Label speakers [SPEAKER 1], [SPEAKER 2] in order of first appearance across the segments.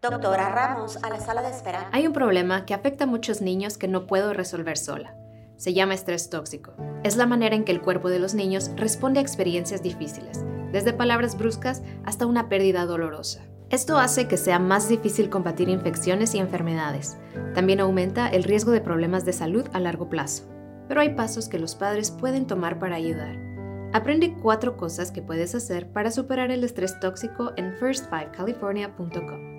[SPEAKER 1] Doctora Ramos, a la sala de espera.
[SPEAKER 2] Hay un problema que afecta a muchos niños que no puedo resolver sola. Se llama estrés tóxico. Es la manera en que el cuerpo de los niños responde a experiencias difíciles, desde palabras bruscas hasta una pérdida dolorosa. Esto hace que sea más difícil combatir infecciones y enfermedades. También aumenta el riesgo de problemas de salud a largo plazo. Pero hay pasos que los padres pueden tomar para ayudar. Aprende cuatro cosas que puedes hacer para superar el estrés tóxico en first5california.com.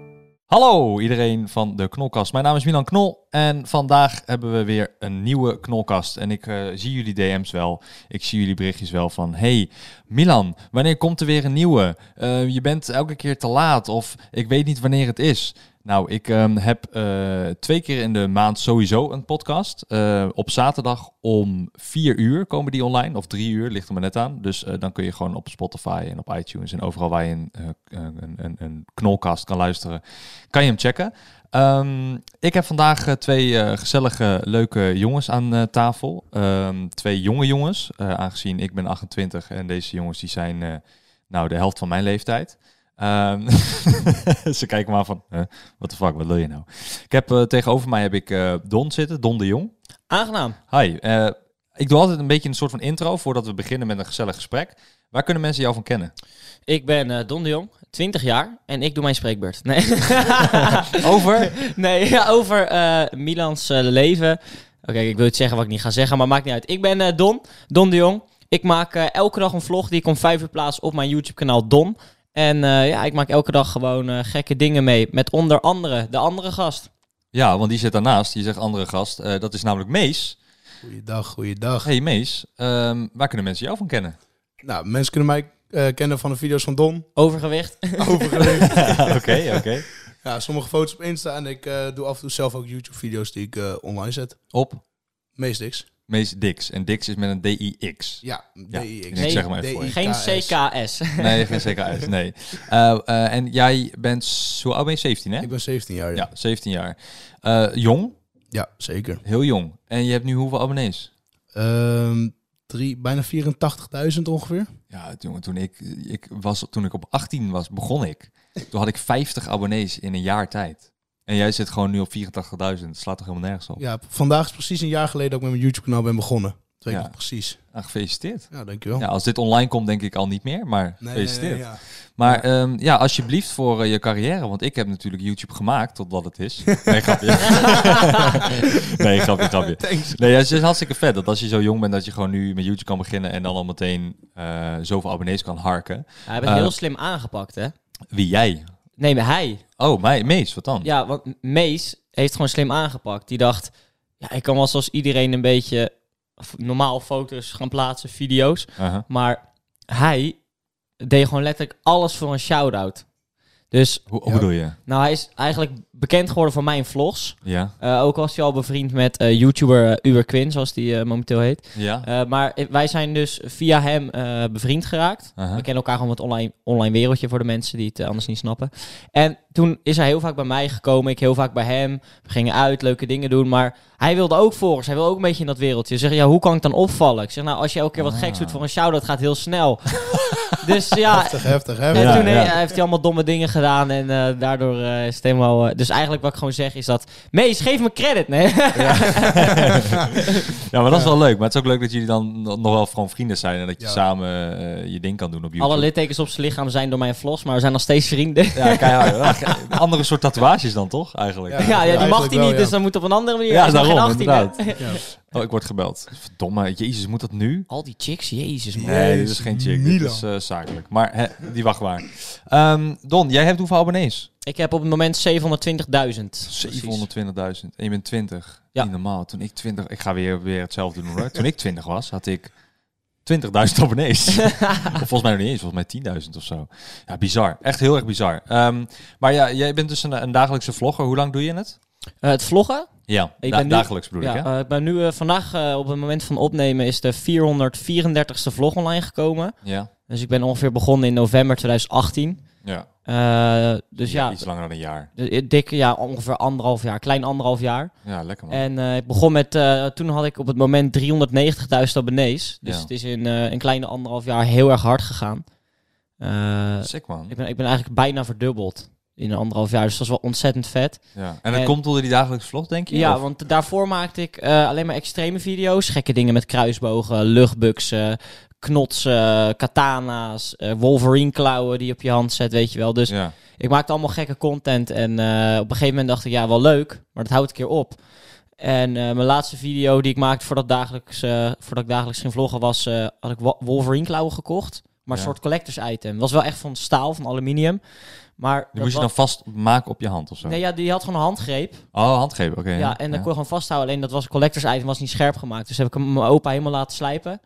[SPEAKER 3] Hallo iedereen van de Knolkast. Mijn naam is Milan Knol en vandaag hebben we weer een nieuwe Knolkast. En ik eh, zie jullie DM's wel. Ik zie jullie berichtjes wel van: hey Milan, wanneer komt er weer een nieuwe? Eh, je bent elke keer te laat of ik weet niet wanneer het is. Nou, ik ehm, heb eh, twee keer in de maand sowieso een podcast. Eh, op zaterdag om vier uur komen die online, of drie uur, ligt er maar net aan. Dus eh, dan kun je gewoon op Spotify en op iTunes en overal waar je een, eh, een, een, een knolcast kan luisteren, kan je hem checken. Ehm, ik heb vandaag eh, twee eh, gezellige, leuke jongens aan eh, tafel. Ehm, twee jonge jongens, eh, aangezien ik ben 28 en deze jongens die zijn eh, nou, de helft van mijn leeftijd. Ehm, ze kijken me aan van, eh, what the fuck, wat wil je nou? Ik heb, eh, tegenover mij heb ik eh, Don zitten, Don de Jong.
[SPEAKER 4] Aangenaam.
[SPEAKER 3] Hi, eh, ik doe altijd een beetje een soort van intro voordat we beginnen met een gezellig gesprek. Waar kunnen mensen jou van kennen?
[SPEAKER 4] Ik ben eh, Don de Jong, 20 jaar en ik doe mijn spreekbeurt. Nee,
[SPEAKER 3] Over?
[SPEAKER 4] nee ja, over eh, Milans eh, leven. Oké, ik wil het zeggen wat ik niet ga zeggen, maar maakt niet uit. Ik ben eh, Don, Don de Jong. Ik maak eh, elke dag een vlog die ik om 5 uur plaats op mijn YouTube-kanaal Don. En eh, ja, ik maak elke dag gewoon eh, gekke dingen mee. Met onder andere de andere gast.
[SPEAKER 3] Ja, want die zit daarnaast, die zegt andere gast. Eh, dat is namelijk Mees.
[SPEAKER 5] Goeiedag, goeiedag.
[SPEAKER 3] Hey Mees, ehm, waar kunnen mensen jou van kennen?
[SPEAKER 5] Nou, mensen kunnen mij eh, kennen van de video's van Don.
[SPEAKER 4] Overgewicht.
[SPEAKER 5] Oh, Overigens.
[SPEAKER 3] Oké, oké.
[SPEAKER 5] ja, sommige foto's op Insta en ik eh, doe af en toe zelf ook YouTube-video's die ik eh, online zet.
[SPEAKER 3] Op
[SPEAKER 5] Meest niks.
[SPEAKER 3] Mees Dix. En Dix is met een D-I-X.
[SPEAKER 5] Ja,
[SPEAKER 3] Ja,
[SPEAKER 5] DIX.
[SPEAKER 3] ik zeg maar even voor je.
[SPEAKER 4] Geen CKS.
[SPEAKER 3] Nee, geen zeker uit. Nee. Eh, eh, en jij bent, zo- hoe oud ben je? 17, hè?
[SPEAKER 5] Ik ben 17 jaar. Ja,
[SPEAKER 3] Ja, 17 jaar. Eh, jong,
[SPEAKER 5] Ja, zeker.
[SPEAKER 3] heel jong. En je hebt nu hoeveel abonnees?
[SPEAKER 5] Ehm, drie, bijna 84.000 ongeveer.
[SPEAKER 3] Ja, jongen, toen ik, ik was, toen ik op 18 was, begon ik. Toen had ik 50 abonnees in een jaar tijd. En jij zit gewoon nu op 84.000. Slaat toch helemaal nergens op?
[SPEAKER 5] Ja, vandaag is precies een jaar geleden dat ik met mijn YouTube-kanaal ben begonnen. Twee
[SPEAKER 3] Ja.
[SPEAKER 5] keer precies.
[SPEAKER 3] Ah, gefeliciteerd.
[SPEAKER 5] Ja, dankjewel.
[SPEAKER 3] Ja, als dit online komt, denk ik al niet meer. Maar gefeliciteerd.
[SPEAKER 5] ja.
[SPEAKER 3] Maar ehm, ja, alsjeblieft voor eh, je carrière. Want ik heb natuurlijk YouTube gemaakt totdat het is. Nee, grapje. nee, grapje, grapje.
[SPEAKER 5] Thanks.
[SPEAKER 3] Nee, ja, het is hartstikke vet dat als je zo jong bent dat je gewoon nu met YouTube kan beginnen en dan al meteen eh, zoveel abonnees kan harken.
[SPEAKER 4] Hij bent
[SPEAKER 3] Eh.
[SPEAKER 4] heel slim aangepakt, hè?
[SPEAKER 3] Wie jij?
[SPEAKER 4] Nee, maar hij.
[SPEAKER 3] Oh, mij, Mees, wat dan?
[SPEAKER 4] Ja, want Mees heeft gewoon slim aangepakt. Die dacht, ja, ik kan wel zoals iedereen een beetje f- normaal foto's gaan plaatsen, video's.
[SPEAKER 3] Uh-huh.
[SPEAKER 4] Maar hij deed gewoon letterlijk alles voor een shout-out. Dus,
[SPEAKER 3] Hoe, hoe
[SPEAKER 5] Ja.
[SPEAKER 3] bedoel je?
[SPEAKER 4] nou, hij is eigenlijk bekend geworden van mijn vlogs.
[SPEAKER 3] Ja.
[SPEAKER 4] Eh, ook was hij al bevriend met eh, YouTuber eh, Uber Quinn, zoals die eh, momenteel heet.
[SPEAKER 3] Ja.
[SPEAKER 4] Eh, maar eh, wij zijn dus via hem eh, bevriend geraakt.
[SPEAKER 3] Uh-huh.
[SPEAKER 4] We kennen elkaar gewoon het online, online wereldje voor de mensen die het eh, anders niet snappen. En toen is hij heel vaak bij mij gekomen, ik heel vaak bij hem. We gingen uit, leuke dingen doen, maar hij wilde ook volgers. Hij wil ook een beetje in dat wereldje. Zeg, ja, hoe kan ik dan opvallen? Ik zeg, nou, als je elke keer wat
[SPEAKER 3] Ah.
[SPEAKER 4] geks doet voor een shout-out, gaat heel snel. dus ja,
[SPEAKER 5] Heftig, heftig,
[SPEAKER 4] en
[SPEAKER 5] heftig.
[SPEAKER 3] Ja,
[SPEAKER 4] toen eh,
[SPEAKER 3] ja.
[SPEAKER 4] heeft hij allemaal domme dingen gedaan en eh, daardoor eh, is het helemaal... eh, dus eigenlijk wat ik gewoon zeg is dat, Mees, geef me credit, nee?
[SPEAKER 3] ja, maar dat is wel leuk. Maar het is ook leuk dat jullie dan nog wel gewoon vrienden zijn en dat je
[SPEAKER 5] Ja.
[SPEAKER 3] samen eh, je ding kan doen op YouTube.
[SPEAKER 4] Alle littekens op zijn lichaam zijn door mijn vlos, maar we zijn nog steeds vrienden.
[SPEAKER 3] Ja, keihard. Ja, ge- andere soort tatoeages dan toch, eigenlijk?
[SPEAKER 5] Ja.
[SPEAKER 4] Ja, ja, die mag
[SPEAKER 5] eigenlijk
[SPEAKER 4] hij
[SPEAKER 5] wel,
[SPEAKER 4] niet,
[SPEAKER 5] ja.
[SPEAKER 4] dus dat moet op een andere manier.
[SPEAKER 3] Ja,
[SPEAKER 4] Hij is nog geen
[SPEAKER 3] daarom,
[SPEAKER 4] 18, hè?
[SPEAKER 3] inderdaad.
[SPEAKER 5] Ja.
[SPEAKER 3] Oh, ik word gebeld. Verdomme, jezus, moet dat nu?
[SPEAKER 4] Al die chicks, jezus man.
[SPEAKER 3] Nee, dit is geen chick. Dit
[SPEAKER 5] Milan.
[SPEAKER 3] is eh, zakelijk. Maar hè, die wacht maar. Ehm, Don, jij hebt hoeveel abonnees?
[SPEAKER 4] Ik heb op het moment 720.000.
[SPEAKER 3] 720.000. En je bent 20.
[SPEAKER 4] Ja.
[SPEAKER 3] Niet normaal. Toen ik 20... Ik ga weer, weer hetzelfde doen hoor. Toen ik 20 was, had ik 20.000 abonnees. of volgens mij nog niet eens. Volgens mij 10.000 of zo. Ja, bizar. Echt heel erg bizar. Ehm, maar ja, jij bent dus een, een dagelijkse vlogger. Hoe lang doe je het?
[SPEAKER 4] Eh, het vloggen?
[SPEAKER 3] Ja,
[SPEAKER 4] Ik
[SPEAKER 3] da-
[SPEAKER 4] ben nu-
[SPEAKER 3] dagelijks bedoel
[SPEAKER 4] Ja,
[SPEAKER 3] ik hè?
[SPEAKER 4] eh, ik ben nu eh, vandaag eh, op het moment van opnemen is de 434ste vlog online gekomen.
[SPEAKER 3] ja.
[SPEAKER 4] Dus ik ben ongeveer begonnen in november 2018.
[SPEAKER 3] Ja.
[SPEAKER 4] Eh, dus
[SPEAKER 3] ja,
[SPEAKER 4] ja,
[SPEAKER 3] iets langer dan een jaar.
[SPEAKER 4] d- dik ja, ongeveer anderhalf jaar, klein anderhalf jaar.
[SPEAKER 3] Ja, lekker man.
[SPEAKER 4] En eh, ik begon met, eh, toen had ik op het moment 390.000 abonnees. Dus
[SPEAKER 3] Ja.
[SPEAKER 4] het is in eh, een kleine anderhalf jaar heel erg hard gegaan. Eh,
[SPEAKER 3] Sick man.
[SPEAKER 4] ik, ben, ik ben eigenlijk bijna verdubbeld. in een anderhalf jaar. Dus dat is wel ontzettend vet.
[SPEAKER 3] Ja. En dat
[SPEAKER 4] En-
[SPEAKER 3] komt door die dagelijkse vlog, denk je?
[SPEAKER 4] Ja,
[SPEAKER 3] Of-
[SPEAKER 4] want daarvoor maakte ik eh, alleen maar extreme video's. Gekke dingen met kruisbogen, luchtbuksen, knotsen, katana's, eh, Wolverine klauwen die je op je hand zet, weet je wel. Dus
[SPEAKER 3] ja.
[SPEAKER 4] ik maakte allemaal gekke content. En eh, op een gegeven moment dacht ik, ja, wel leuk, maar dat houdt een keer op. En eh, mijn laatste video die ik maakte voordat, dagelijks, eh, voordat ik dagelijks ging vloggen was, eh, had ik Wa- Wolverine klauwen gekocht. Maar een
[SPEAKER 3] Ja.
[SPEAKER 4] soort collectors item. Was wel echt van staal, van aluminium. Maar
[SPEAKER 3] Die
[SPEAKER 4] dat
[SPEAKER 3] moest je
[SPEAKER 4] was-
[SPEAKER 3] dan vastmaken op je hand of zo?
[SPEAKER 4] Nee, ja, die had gewoon een handgreep.
[SPEAKER 3] Oh, handgeven, oké.
[SPEAKER 4] Ja, en dan kon je gewoon vasthouden. Alleen dat was een collectors item, was niet scherp gemaakt. Dus heb ik hem mijn opa helemaal laten slijpen.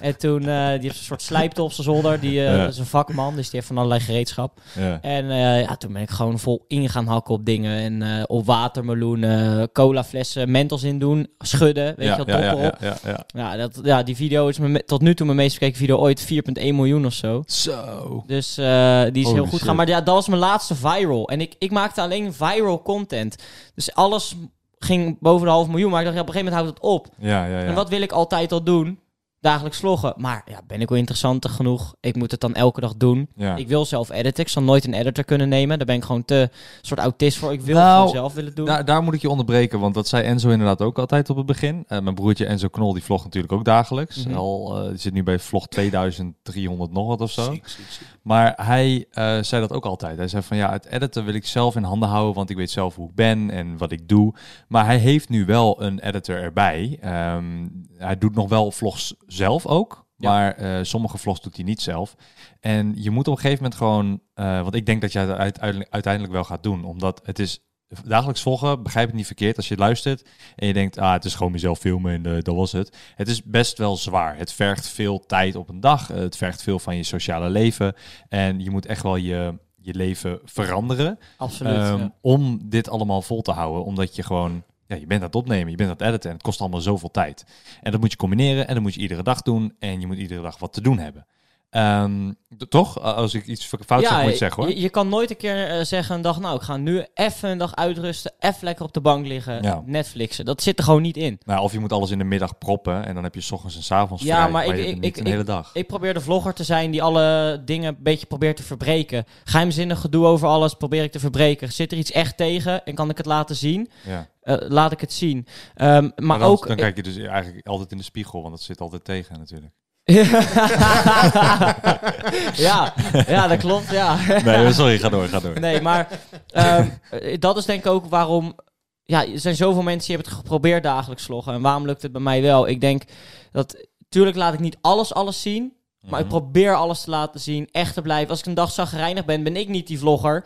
[SPEAKER 4] en toen, eh, die heeft een soort slijpte op zijn zolder. Die eh,
[SPEAKER 3] Ja.
[SPEAKER 4] is een vakman, dus die heeft van allerlei gereedschap.
[SPEAKER 3] Ja.
[SPEAKER 4] En eh, ja, toen ben ik gewoon vol in gaan hakken op dingen. En eh, op watermeloenen, colaflessen, mentels in doen, schudden, weet
[SPEAKER 3] ja,
[SPEAKER 4] je wel,
[SPEAKER 3] ja,
[SPEAKER 4] doppen
[SPEAKER 3] ja,
[SPEAKER 4] op.
[SPEAKER 3] ja, ja, ja.
[SPEAKER 4] Ja, dat, ja, die video is mijn me- tot nu toe mijn meest bekeken video ooit, 4,1 miljoen of zo.
[SPEAKER 3] Zo.
[SPEAKER 4] Dus eh, die is
[SPEAKER 3] Holy
[SPEAKER 4] heel goed
[SPEAKER 3] shit.
[SPEAKER 4] gaan. Maar ja, dat was mijn laatste viral. En ik, ik maakte alleen viral content. Dus alles ging boven de half miljoen. Maar ik dacht, ja, op een gegeven moment houdt het op.
[SPEAKER 3] Ja, ja, ja.
[SPEAKER 4] En wat wil ik altijd al doen? Dagelijks vloggen. Maar ja, ben ik wel interessant genoeg? Ik moet het dan elke dag doen.
[SPEAKER 3] ja.
[SPEAKER 4] Ik wil zelf editen. Ik zal nooit een editor kunnen nemen. Daar ben ik gewoon te soort autist voor. Ik wil
[SPEAKER 3] Nou,
[SPEAKER 4] het gewoon zelf willen doen.
[SPEAKER 3] Daar, daar moet ik je onderbreken, want dat zei Enzo inderdaad ook altijd op het begin. Eh, mijn broertje Enzo Knol, die vlogt natuurlijk ook dagelijks.
[SPEAKER 4] Mhm.
[SPEAKER 3] Al, eh, die zit nu bij vlog 2300 nog wat of zo.
[SPEAKER 5] Ziek, ziek, ziek.
[SPEAKER 3] Maar hij eh, zei dat ook altijd. Hij zei van ja, het editen wil ik zelf in handen houden, want ik weet zelf hoe ik ben en wat ik doe. Maar hij heeft nu wel een editor erbij. Ehm, hij doet nog wel vlogs zelf ook.
[SPEAKER 4] Ja.
[SPEAKER 3] Maar eh, sommige vlogs doet hij niet zelf. En je moet op een gegeven moment gewoon. eh, want ik denk dat je het uiteindelijk, uiteindelijk wel gaat doen. Omdat het is dagelijks volgen, begrijp het niet verkeerd als je luistert. En je denkt, ah, het is gewoon mezelf filmen en eh, dat was het. Het is best wel zwaar. Het vergt veel tijd op een dag. Eh, Het vergt veel van je sociale leven. En je moet echt wel je, je leven veranderen.
[SPEAKER 4] Absoluut.
[SPEAKER 3] ehm,
[SPEAKER 4] ja.
[SPEAKER 3] Om dit allemaal vol te houden. Omdat je gewoon. Ja, je bent aan het opnemen, je bent aan het editen en het kost allemaal zoveel tijd. En dat moet je combineren en dat moet je iedere dag doen. En je moet iedere dag wat te doen hebben. Ehm, d- toch? A- Als ik iets fout zeg, moet je het zeggen hoor.
[SPEAKER 4] Je, je kan nooit een keer eh, zeggen een dag, nou, ik ga nu even een dag uitrusten, even lekker op de bank liggen,
[SPEAKER 3] Ja.
[SPEAKER 4] Netflixen. Dat zit er gewoon niet in.
[SPEAKER 3] Nou, of je moet alles in de middag proppen en dan heb je 's ochtends en 's avonds
[SPEAKER 4] Ja,
[SPEAKER 3] vrij,
[SPEAKER 4] maar
[SPEAKER 3] je
[SPEAKER 4] ik-
[SPEAKER 3] hebt
[SPEAKER 4] ik-
[SPEAKER 3] het niet
[SPEAKER 4] ik-
[SPEAKER 3] een
[SPEAKER 4] ik-
[SPEAKER 3] hele dag.
[SPEAKER 4] Ik probeer de vlogger te zijn die alle dingen een beetje probeert te verbreken. Geheimzinnig gedoe over alles probeer ik te verbreken. Zit er iets echt tegen en kan ik het laten zien?
[SPEAKER 3] ja.
[SPEAKER 4] Eh, laat ik het zien. Ehm, maar
[SPEAKER 3] dan,
[SPEAKER 4] ook...
[SPEAKER 3] dan kijk je dus eigenlijk altijd in de spiegel, want dat zit altijd tegen natuurlijk.
[SPEAKER 4] ja, ja, dat klopt, ja.
[SPEAKER 3] Nee, sorry, ga door, ga door.
[SPEAKER 4] Nee, maar ehm, eh, dat is denk ik ook waarom... Ja, er zijn zoveel mensen die hebben het geprobeerd dagelijks vloggen. En waarom lukt het bij mij wel? Ik denk dat... Tuurlijk laat ik niet alles alles zien. Maar
[SPEAKER 3] Mhm.
[SPEAKER 4] ik probeer alles te laten zien, echt te blijven. Als ik een dag zagrijnig ben, ben ik niet die vlogger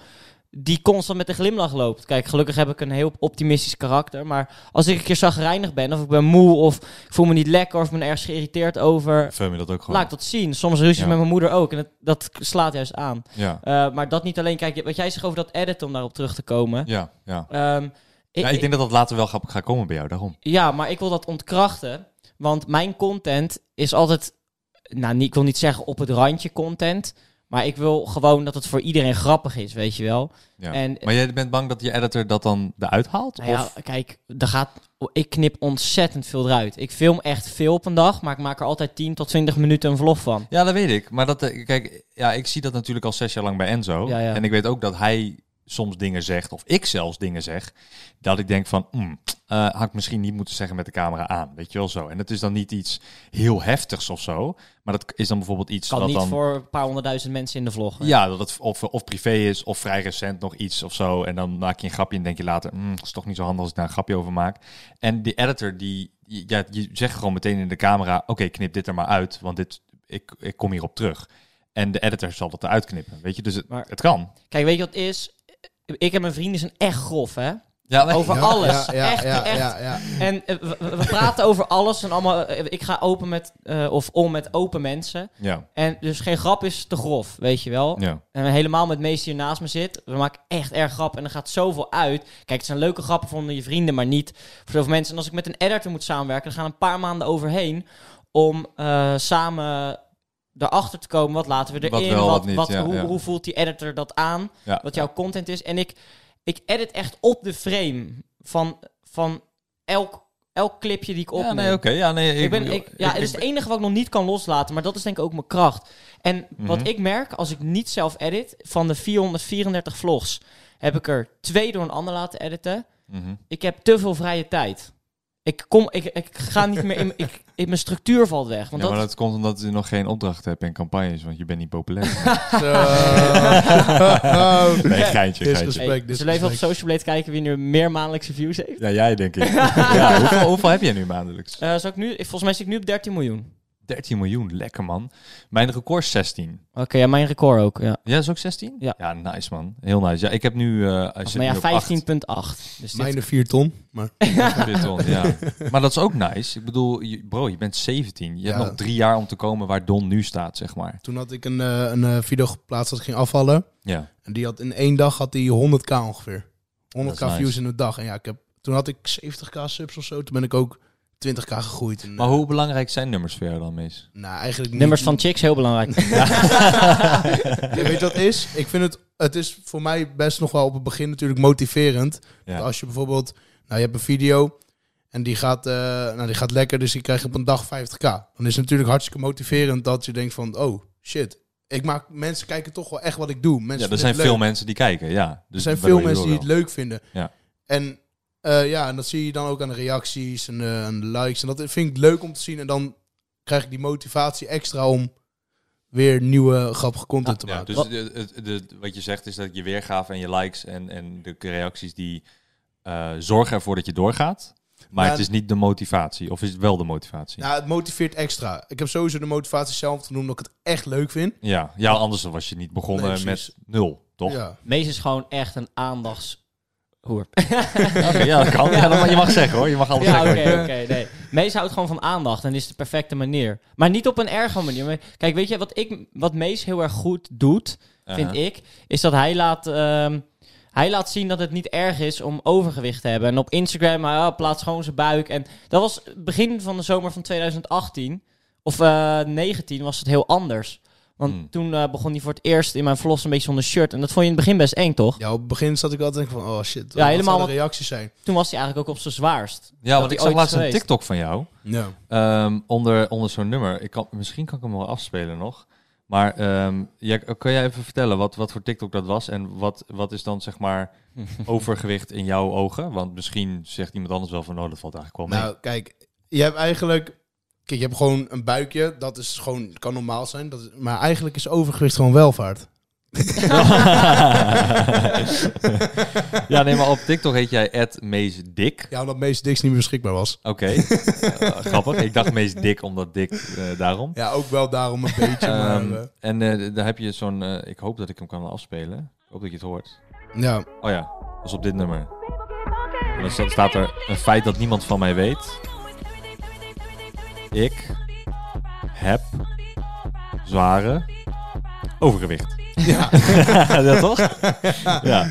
[SPEAKER 4] die constant met een glimlach loopt. Kijk, gelukkig heb ik een heel optimistisch karakter. Maar als ik een keer zagrijnig ben, of ik ben moe, of ik voel me niet lekker, of ik ben ergens geïrriteerd over...
[SPEAKER 3] Film je dat ook gewoon?
[SPEAKER 4] Laat ik dat zien. Soms ruzies
[SPEAKER 3] Ja.
[SPEAKER 4] met mijn moeder ook. En dat, dat slaat juist aan.
[SPEAKER 3] Ja,
[SPEAKER 4] Eh, maar dat niet alleen. Kijk, wat jij zegt over dat edit, om daarop terug te komen.
[SPEAKER 3] ja, ja.
[SPEAKER 4] Ehm, ik-
[SPEAKER 3] Ja, ik denk dat dat later wel gaat gaat komen bij jou, daarom.
[SPEAKER 4] ja, maar ik wil dat ontkrachten. Want mijn content is altijd. Nou, niet- ik wil niet zeggen op het randje content. Maar ik wil gewoon dat het voor iedereen grappig is, weet je wel.
[SPEAKER 3] Ja.
[SPEAKER 4] En- eh,
[SPEAKER 3] maar jij bent bang dat je editor dat dan eruit haalt?
[SPEAKER 4] Nou ja,
[SPEAKER 3] of?
[SPEAKER 4] kijk, er gaat, ik knip ontzettend veel eruit. Ik film echt veel op een dag, maar ik maak er altijd 10 tot 20 minuten een vlog van.
[SPEAKER 3] ja, dat weet ik. Maar dat, eh, kijk, ja, ik zie dat natuurlijk al zes jaar lang bij Enzo.
[SPEAKER 4] Ja, ja.
[SPEAKER 3] En ik weet ook dat hij soms dingen zegt, of ik zelfs dingen zeg, dat ik denk van, mm, eh, had ik misschien niet moeten zeggen met de camera aan, weet je wel zo. En dat is dan niet iets heel heftigs of zo, maar dat is dan bijvoorbeeld iets
[SPEAKER 4] Kan
[SPEAKER 3] dat
[SPEAKER 4] niet
[SPEAKER 3] dan...
[SPEAKER 4] voor een paar honderdduizend mensen in de vlog. hè.
[SPEAKER 3] Ja, dat het of, of privé is, of vrij recent nog iets of zo. En dan maak je een grapje en denk je later, "Mm, is toch niet zo handig als ik daar een grapje over maak. En die editor, die, ja, je zegt gewoon meteen in de camera, oké, knip dit er maar uit, want dit, ik, ik kom hierop terug. En de editor zal dat eruit knippen, weet je. Dus het,
[SPEAKER 4] Maar-
[SPEAKER 3] het kan.
[SPEAKER 4] Kijk, weet je wat het is? Ik en mijn vrienden zijn echt grof, hè?
[SPEAKER 3] Ja,
[SPEAKER 4] Over
[SPEAKER 5] Ja,
[SPEAKER 4] alles.
[SPEAKER 5] ja, ja,
[SPEAKER 4] echt,
[SPEAKER 5] ja,
[SPEAKER 4] echt.
[SPEAKER 5] ja, ja.
[SPEAKER 4] En eh, we, we- we praten over alles en allemaal. eh, ik ga open met, eh, of om met open mensen.
[SPEAKER 3] ja,
[SPEAKER 4] En dus geen grap is te grof, weet je wel.
[SPEAKER 3] ja.
[SPEAKER 4] En helemaal met Mees die hier naast me zit. We maken echt erg grap en er gaat zoveel uit. Kijk, het zijn leuke grappen voor onder je vrienden, maar niet voor zoveel mensen. En als ik met een editor moet samenwerken, dan gaan een paar maanden overheen om eh, samen erachter te komen. Wat laten we erin?
[SPEAKER 3] Wat wel, wat niet, ja,
[SPEAKER 4] hoe,
[SPEAKER 3] ja.
[SPEAKER 4] hoe voelt die editor dat aan?
[SPEAKER 3] Ja.
[SPEAKER 4] Wat jouw content is. En ik, ik edit echt op de frame van, van elk elk clipje die ik opneem.
[SPEAKER 3] Ja, nee, oké. Ja, nee,
[SPEAKER 4] Ik ben, ik, ja, het is het enige wat ik nog niet kan loslaten, maar dat is denk ik ook mijn kracht. En
[SPEAKER 3] Mhm.
[SPEAKER 4] wat ik merk, als ik niet zelf edit, van de 434 vlogs heb ik er twee door een ander laten editen.
[SPEAKER 3] Mhm.
[SPEAKER 4] Ik heb te veel vrije tijd. Ik, kom, ik, ik ga niet meer in, ik, ik- mijn structuur valt weg. Want
[SPEAKER 3] ja,
[SPEAKER 4] dat,
[SPEAKER 3] maar dat komt omdat je nog geen opdracht hebt in campagnes, want je bent niet populair.
[SPEAKER 5] Zo.
[SPEAKER 3] nee, geintje,
[SPEAKER 5] Dit is
[SPEAKER 3] geintje.
[SPEAKER 5] gesprek,
[SPEAKER 4] Hey,
[SPEAKER 5] dit is
[SPEAKER 4] zullen we even op
[SPEAKER 5] gesprek.
[SPEAKER 4] Social Blade kijken wie nu meer maandelijkse views heeft?
[SPEAKER 3] Ja, jij denk ik. ja, hoeveel, hoeveel heb jij nu maandelijks?
[SPEAKER 4] Eh, zal ik nu, volgens mij zit ik nu op 13 miljoen.
[SPEAKER 3] 13 miljoen, lekker man. Mijn record is 16.
[SPEAKER 4] Oké, ja, mijn record ook. Ja.
[SPEAKER 3] Ja, is ook 16?
[SPEAKER 4] Ja.
[SPEAKER 3] Ja, nice man. Heel nice. Ja, ik heb nu... eh ik zit
[SPEAKER 4] Maar nou ja,
[SPEAKER 3] nu op acht.
[SPEAKER 4] 15,8. Dus dit-
[SPEAKER 5] Mijne 4 ton, maar
[SPEAKER 3] Dit wel, ja. Maar dat is ook nice. Ik bedoel, je- bro, je bent 17. Je
[SPEAKER 5] Ja.
[SPEAKER 3] hebt nog drie jaar om te komen waar Don nu staat, zeg maar.
[SPEAKER 5] toen had ik een, eh, een eh, video geplaatst dat ik ging afvallen.
[SPEAKER 3] Ja.
[SPEAKER 5] En die had in één dag had die 100k ongeveer. 100k
[SPEAKER 3] Dat is nice.
[SPEAKER 5] views in een dag. En ja, ik heb, toen had ik 70k subs of zo. Toen ben ik ook 20k gegroeid. En,
[SPEAKER 3] Maar
[SPEAKER 5] eh,
[SPEAKER 3] hoe belangrijk zijn nummers voor jou dan, Mees?
[SPEAKER 5] Nou, eigenlijk niet.
[SPEAKER 4] Nummers van chicks, heel belangrijk.
[SPEAKER 5] Ja, weet je wat het is? Ik vind het, het is voor mij best nog wel op het begin natuurlijk motiverend.
[SPEAKER 3] Ja.
[SPEAKER 5] Als je bijvoorbeeld, nou je hebt een video en die gaat, eh, nou, die gaat lekker, dus die krijg je op een dag 50k. Dan is het natuurlijk hartstikke motiverend dat je denkt van, oh shit, ik maak, mensen kijken toch wel echt wat ik doe. Mensen
[SPEAKER 3] Ja, er
[SPEAKER 5] vinden
[SPEAKER 3] zijn
[SPEAKER 5] het leuk.
[SPEAKER 3] veel mensen die kijken, ja. Dus
[SPEAKER 5] Er zijn
[SPEAKER 3] dat
[SPEAKER 5] veel
[SPEAKER 3] wil je
[SPEAKER 5] mensen die
[SPEAKER 3] wel.
[SPEAKER 5] het leuk vinden.
[SPEAKER 3] Ja.
[SPEAKER 5] En eh, ja, en dat zie je dan ook aan de reacties en, eh, aan de likes. En dat vind ik leuk om te zien. En dan krijg ik die motivatie extra om weer nieuwe grappige content te
[SPEAKER 3] Ja,
[SPEAKER 5] maken.
[SPEAKER 3] dus
[SPEAKER 4] Wat-
[SPEAKER 3] de- het- de- wat je zegt is dat je weergave en je likes en, en de reacties die eh, zorgen ervoor dat je doorgaat. Maar
[SPEAKER 5] Ja,
[SPEAKER 3] het is niet de motivatie. Of is het wel de motivatie? Ja,
[SPEAKER 5] Ja, Nou, het motiveert extra. Ik heb sowieso de motivatie zelf te noemen dat ik het echt leuk vind.
[SPEAKER 3] ja, anders dan was je niet begonnen
[SPEAKER 5] Nee, precies.
[SPEAKER 3] met nul, toch? Ja,
[SPEAKER 5] Ja.
[SPEAKER 4] Mees is gewoon echt een aandachtshoer.
[SPEAKER 3] ja dat kan. Ja, dat mag, je mag zeggen hoor. Je mag alles
[SPEAKER 4] Ja, oké,
[SPEAKER 3] zeggen.
[SPEAKER 4] oké. nee. Mees houdt gewoon van aandacht en is de perfecte manier. Maar niet op een erge manier. Maar Kijk, weet je wat, ik, wat Mees heel erg goed doet, vind
[SPEAKER 3] Aha.
[SPEAKER 4] ik, is dat hij laat, ehm, hij laat zien dat het niet erg is om overgewicht te hebben. En op Instagram, hij ah, plaatst gewoon zijn buik. En dat was begin van de zomer van 2018 of eh 19 was het heel anders. Want
[SPEAKER 3] Hmm.
[SPEAKER 4] toen eh, begon hij voor het eerst in mijn vlogs een beetje zonder shirt. En dat vond je in het begin best eng, toch?
[SPEAKER 5] ja, op het begin zat ik altijd denk van, oh shit,
[SPEAKER 4] Ja,
[SPEAKER 5] ja,
[SPEAKER 4] helemaal
[SPEAKER 5] helemaal wat
[SPEAKER 4] wat-
[SPEAKER 5] de reacties zijn.
[SPEAKER 4] Toen was hij eigenlijk ook op zijn zwaarst.
[SPEAKER 3] Ja,
[SPEAKER 4] Dat
[SPEAKER 3] want
[SPEAKER 4] hij
[SPEAKER 3] ik zag
[SPEAKER 4] ooit
[SPEAKER 3] laatst
[SPEAKER 4] is
[SPEAKER 3] een
[SPEAKER 4] geweest.
[SPEAKER 3] TikTok van jou.
[SPEAKER 5] Ja.
[SPEAKER 3] Ehm, onder onder zo'n nummer. Ik kan, misschien kan ik hem wel afspelen nog. Maar ehm jij- kan jij even vertellen wat, wat voor TikTok dat was? En wat, wat is dan zeg maar overgewicht in jouw ogen? Want misschien zegt iemand anders wel van... Oh, dat valt eigenlijk wel mee.
[SPEAKER 5] Nou, kijk, je hebt eigenlijk... Kijk, je hebt gewoon een buikje. Dat is gewoon, kan normaal zijn. Dat is, maar eigenlijk is overgewicht gewoon welvaart.
[SPEAKER 3] ja, nee, maar op TikTok heet jij @meesdik.
[SPEAKER 5] Ja, omdat meest diks niet meer beschikbaar was.
[SPEAKER 3] Oké, Eh, grappig. Ik dacht meest dik, omdat dik eh, daarom.
[SPEAKER 5] Ja, ook wel daarom een beetje. maar,
[SPEAKER 3] Ehm,
[SPEAKER 5] eh,
[SPEAKER 3] en eh, daar heb je zo'n... eh, ik hoop dat ik hem kan afspelen. Ik hoop dat je het hoort.
[SPEAKER 5] ja.
[SPEAKER 3] Oh ja, dat is op dit nummer. En dan sta- staat er een feit dat niemand van mij weet. Ik heb zware overgewicht. Ja, dat toch? Ja.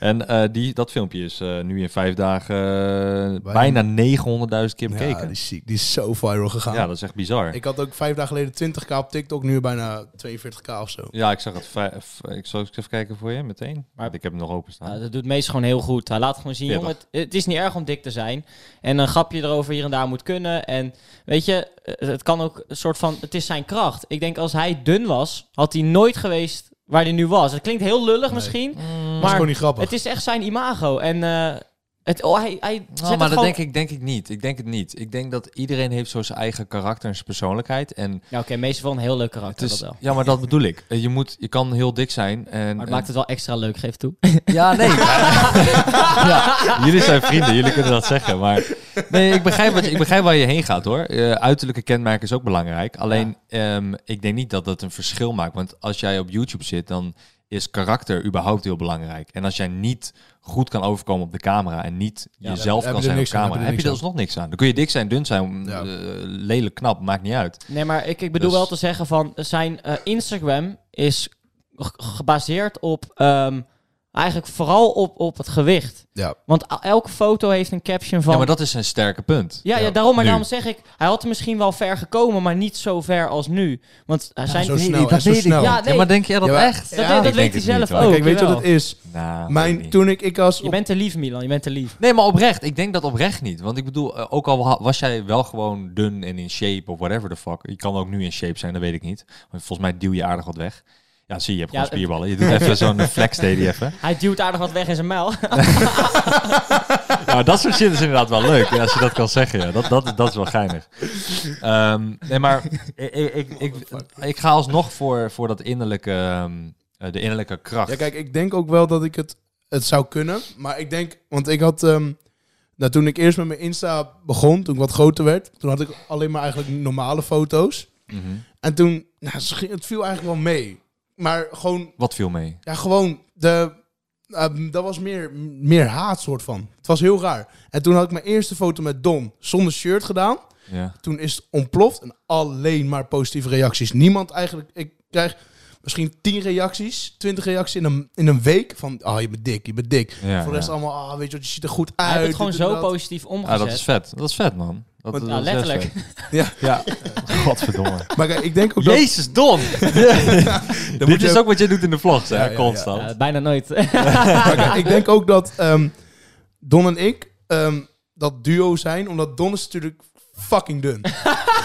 [SPEAKER 3] En eh, die, dat filmpje is eh, nu in vijf dagen eh, bijna 900.000 keer
[SPEAKER 5] ja, die
[SPEAKER 3] bekeken.
[SPEAKER 5] is ziek. Die is zo viral gegaan.
[SPEAKER 3] Ja, dat is echt bizar.
[SPEAKER 5] Ik had ook vijf dagen geleden 20k op TikTok. Nu bijna 42k of zo.
[SPEAKER 4] Mm.
[SPEAKER 3] Ja, ik zag het. vij- v- Ik zal eens even kijken voor je meteen.
[SPEAKER 4] Maar-
[SPEAKER 3] ik heb hem nog openstaan.
[SPEAKER 4] Ja, dat doet Mees gewoon heel goed. Hij laat gewoon zien,
[SPEAKER 3] Veertig.
[SPEAKER 4] jongen, het, het is niet erg om dik te zijn. En een grapje erover hier en daar moet kunnen. En weet je, eh, het kan ook een soort van, het is zijn kracht. Ik denk als hij dun was, had hij nooit geweest waar hij nu was. Het klinkt heel lullig misschien,
[SPEAKER 3] Mm.
[SPEAKER 5] Dat is gewoon
[SPEAKER 4] maar
[SPEAKER 5] niet grappig.
[SPEAKER 4] het is echt zijn imago. En eh, het, oh, hij, hij zet
[SPEAKER 3] Nou, maar
[SPEAKER 4] het
[SPEAKER 3] dat
[SPEAKER 4] gewoon...
[SPEAKER 3] denk ik, denk ik niet. Ik denk het niet. Ik denk dat iedereen heeft zo zijn eigen karakter en zijn persoonlijkheid. En
[SPEAKER 4] Ja, oké, Mees is wel een heel leuk
[SPEAKER 3] het
[SPEAKER 4] karakter, dat
[SPEAKER 3] is,
[SPEAKER 4] wel.
[SPEAKER 3] ja, maar dat bedoel ik. Eh, Je, moet, je kan heel dik zijn. En,
[SPEAKER 4] Maar het maakt het wel extra leuk, geef toe.
[SPEAKER 3] en- Ja, nee. ja, jullie zijn vrienden, jullie kunnen dat zeggen. Maar nee, ik begrijp, wat, je- ik begrijp waar je heen gaat hoor. Eh, uiterlijke kenmerken is ook belangrijk. Alleen, ehm, ik denk niet dat dat een verschil maakt. Want als jij op YouTube zit, dan is karakter überhaupt heel belangrijk. En als jij niet goed kan overkomen op de camera en niet
[SPEAKER 4] Ja,
[SPEAKER 3] jezelf
[SPEAKER 5] dan heb
[SPEAKER 3] kan
[SPEAKER 5] je er
[SPEAKER 3] zijn op
[SPEAKER 5] niks aan,
[SPEAKER 3] camera,
[SPEAKER 5] heb je er
[SPEAKER 3] heb je er
[SPEAKER 5] niks
[SPEAKER 3] alsnog niks aan. Dan kun je dik zijn, dun zijn,
[SPEAKER 5] Ja.
[SPEAKER 3] eh, lelijk knap, maakt niet uit.
[SPEAKER 4] Nee, maar ik, ik bedoel
[SPEAKER 3] Dus-
[SPEAKER 4] wel te zeggen van eh, zijn eh, Instagram is g- gebaseerd op. ehm, Eigenlijk vooral op, op het gewicht.
[SPEAKER 5] Ja.
[SPEAKER 4] Want el- elke foto heeft een caption van...
[SPEAKER 3] Ja, maar dat is een sterke punt.
[SPEAKER 4] Ja, ja, daarom, maar
[SPEAKER 3] nu.
[SPEAKER 4] daarom zeg ik, hij had er misschien wel ver gekomen, maar niet zo ver als nu. Want hij zijn...
[SPEAKER 5] zo
[SPEAKER 4] Nee,
[SPEAKER 5] snel
[SPEAKER 4] die-
[SPEAKER 5] en zo snel.
[SPEAKER 4] Ja, nee,
[SPEAKER 3] Ja, maar denk jij dat
[SPEAKER 5] Ja, maar-
[SPEAKER 3] echt?
[SPEAKER 4] dat, dat
[SPEAKER 3] Ik denk
[SPEAKER 4] weet hij
[SPEAKER 3] het
[SPEAKER 4] zelf
[SPEAKER 3] niet, hoor.
[SPEAKER 4] ook.
[SPEAKER 5] Kijk, weet je
[SPEAKER 4] jawel.
[SPEAKER 5] wat het is?
[SPEAKER 3] Nou, weet ik
[SPEAKER 5] Mijn,
[SPEAKER 3] niet.
[SPEAKER 5] toen ik, ik als...
[SPEAKER 4] Je bent te lief, Milan. Je bent te lief.
[SPEAKER 3] Nee, maar oprecht. Ik denk dat oprecht niet. Want ik bedoel, eh, ook al wa- was jij wel gewoon dun en in shape of whatever the fuck. Je kan ook nu in shape zijn, dat weet ik niet. Want volgens mij duw je aardig wat weg. Ja, zie je, je hebt gewoon
[SPEAKER 4] Ja,
[SPEAKER 3] spierballen. Je doet even zo'n flex deed hij even.
[SPEAKER 4] Hij duwt aardig wat weg in zijn muil.
[SPEAKER 3] Nou, dat soort shit is inderdaad wel leuk. Ja, als je dat kan zeggen, ja. dat, dat, dat is wel geinig. Ehm, nee, maar ik, ik, ik, ik, ik ga alsnog voor, voor dat innerlijke, ehm, eh, de innerlijke kracht.
[SPEAKER 5] Ja, kijk, ik denk ook wel dat ik het, het zou kunnen. Maar ik denk, want ik had... ehm, nou, toen ik eerst met mijn Insta begon, toen ik wat groter werd... Toen had ik alleen maar eigenlijk normale foto's.
[SPEAKER 3] Mhm.
[SPEAKER 5] En toen, nou, het ging- het viel eigenlijk wel mee. Maar gewoon
[SPEAKER 3] Wat viel mee?
[SPEAKER 5] Ja, gewoon de. ehm, dat was meer, meer haat, soort van. Het was heel raar. En toen had ik mijn eerste foto met Dom zonder shirt gedaan.
[SPEAKER 3] Ja.
[SPEAKER 5] Toen is het ontploft en alleen maar positieve reacties. Niemand eigenlijk. Ik krijg misschien 10 reacties, 20 reacties in een, in een week. Van, ah, je bent dik, je bent dik.
[SPEAKER 3] Ja,
[SPEAKER 5] Voor de rest
[SPEAKER 3] ja.
[SPEAKER 5] allemaal, ah, weet je wat, je ziet er goed uit.
[SPEAKER 4] Hij heeft het gewoon
[SPEAKER 5] dit en
[SPEAKER 4] zo
[SPEAKER 5] dat.
[SPEAKER 4] positief
[SPEAKER 3] Ah,
[SPEAKER 4] omgezet.
[SPEAKER 3] dat is vet. Dat is vet, man. Dat,
[SPEAKER 5] Want-
[SPEAKER 3] dat
[SPEAKER 4] Ja,
[SPEAKER 3] is echt
[SPEAKER 4] Nou, letterlijk.
[SPEAKER 3] vet.
[SPEAKER 5] Ja.
[SPEAKER 3] ja. Godverdomme.
[SPEAKER 5] Maar kijk, ik denk ook dat...
[SPEAKER 3] Jezus, Don! Dit
[SPEAKER 5] moet je
[SPEAKER 3] is
[SPEAKER 5] ook-
[SPEAKER 3] ook wat jij doet in de vlogs, hè?
[SPEAKER 5] Ja, ja, ja.
[SPEAKER 3] constant.
[SPEAKER 4] Ja, Eh, bijna nooit.
[SPEAKER 5] Maar kijk, ik denk ook dat ehm, Don en ik ehm, dat duo zijn. Omdat Don is natuurlijk fucking dun.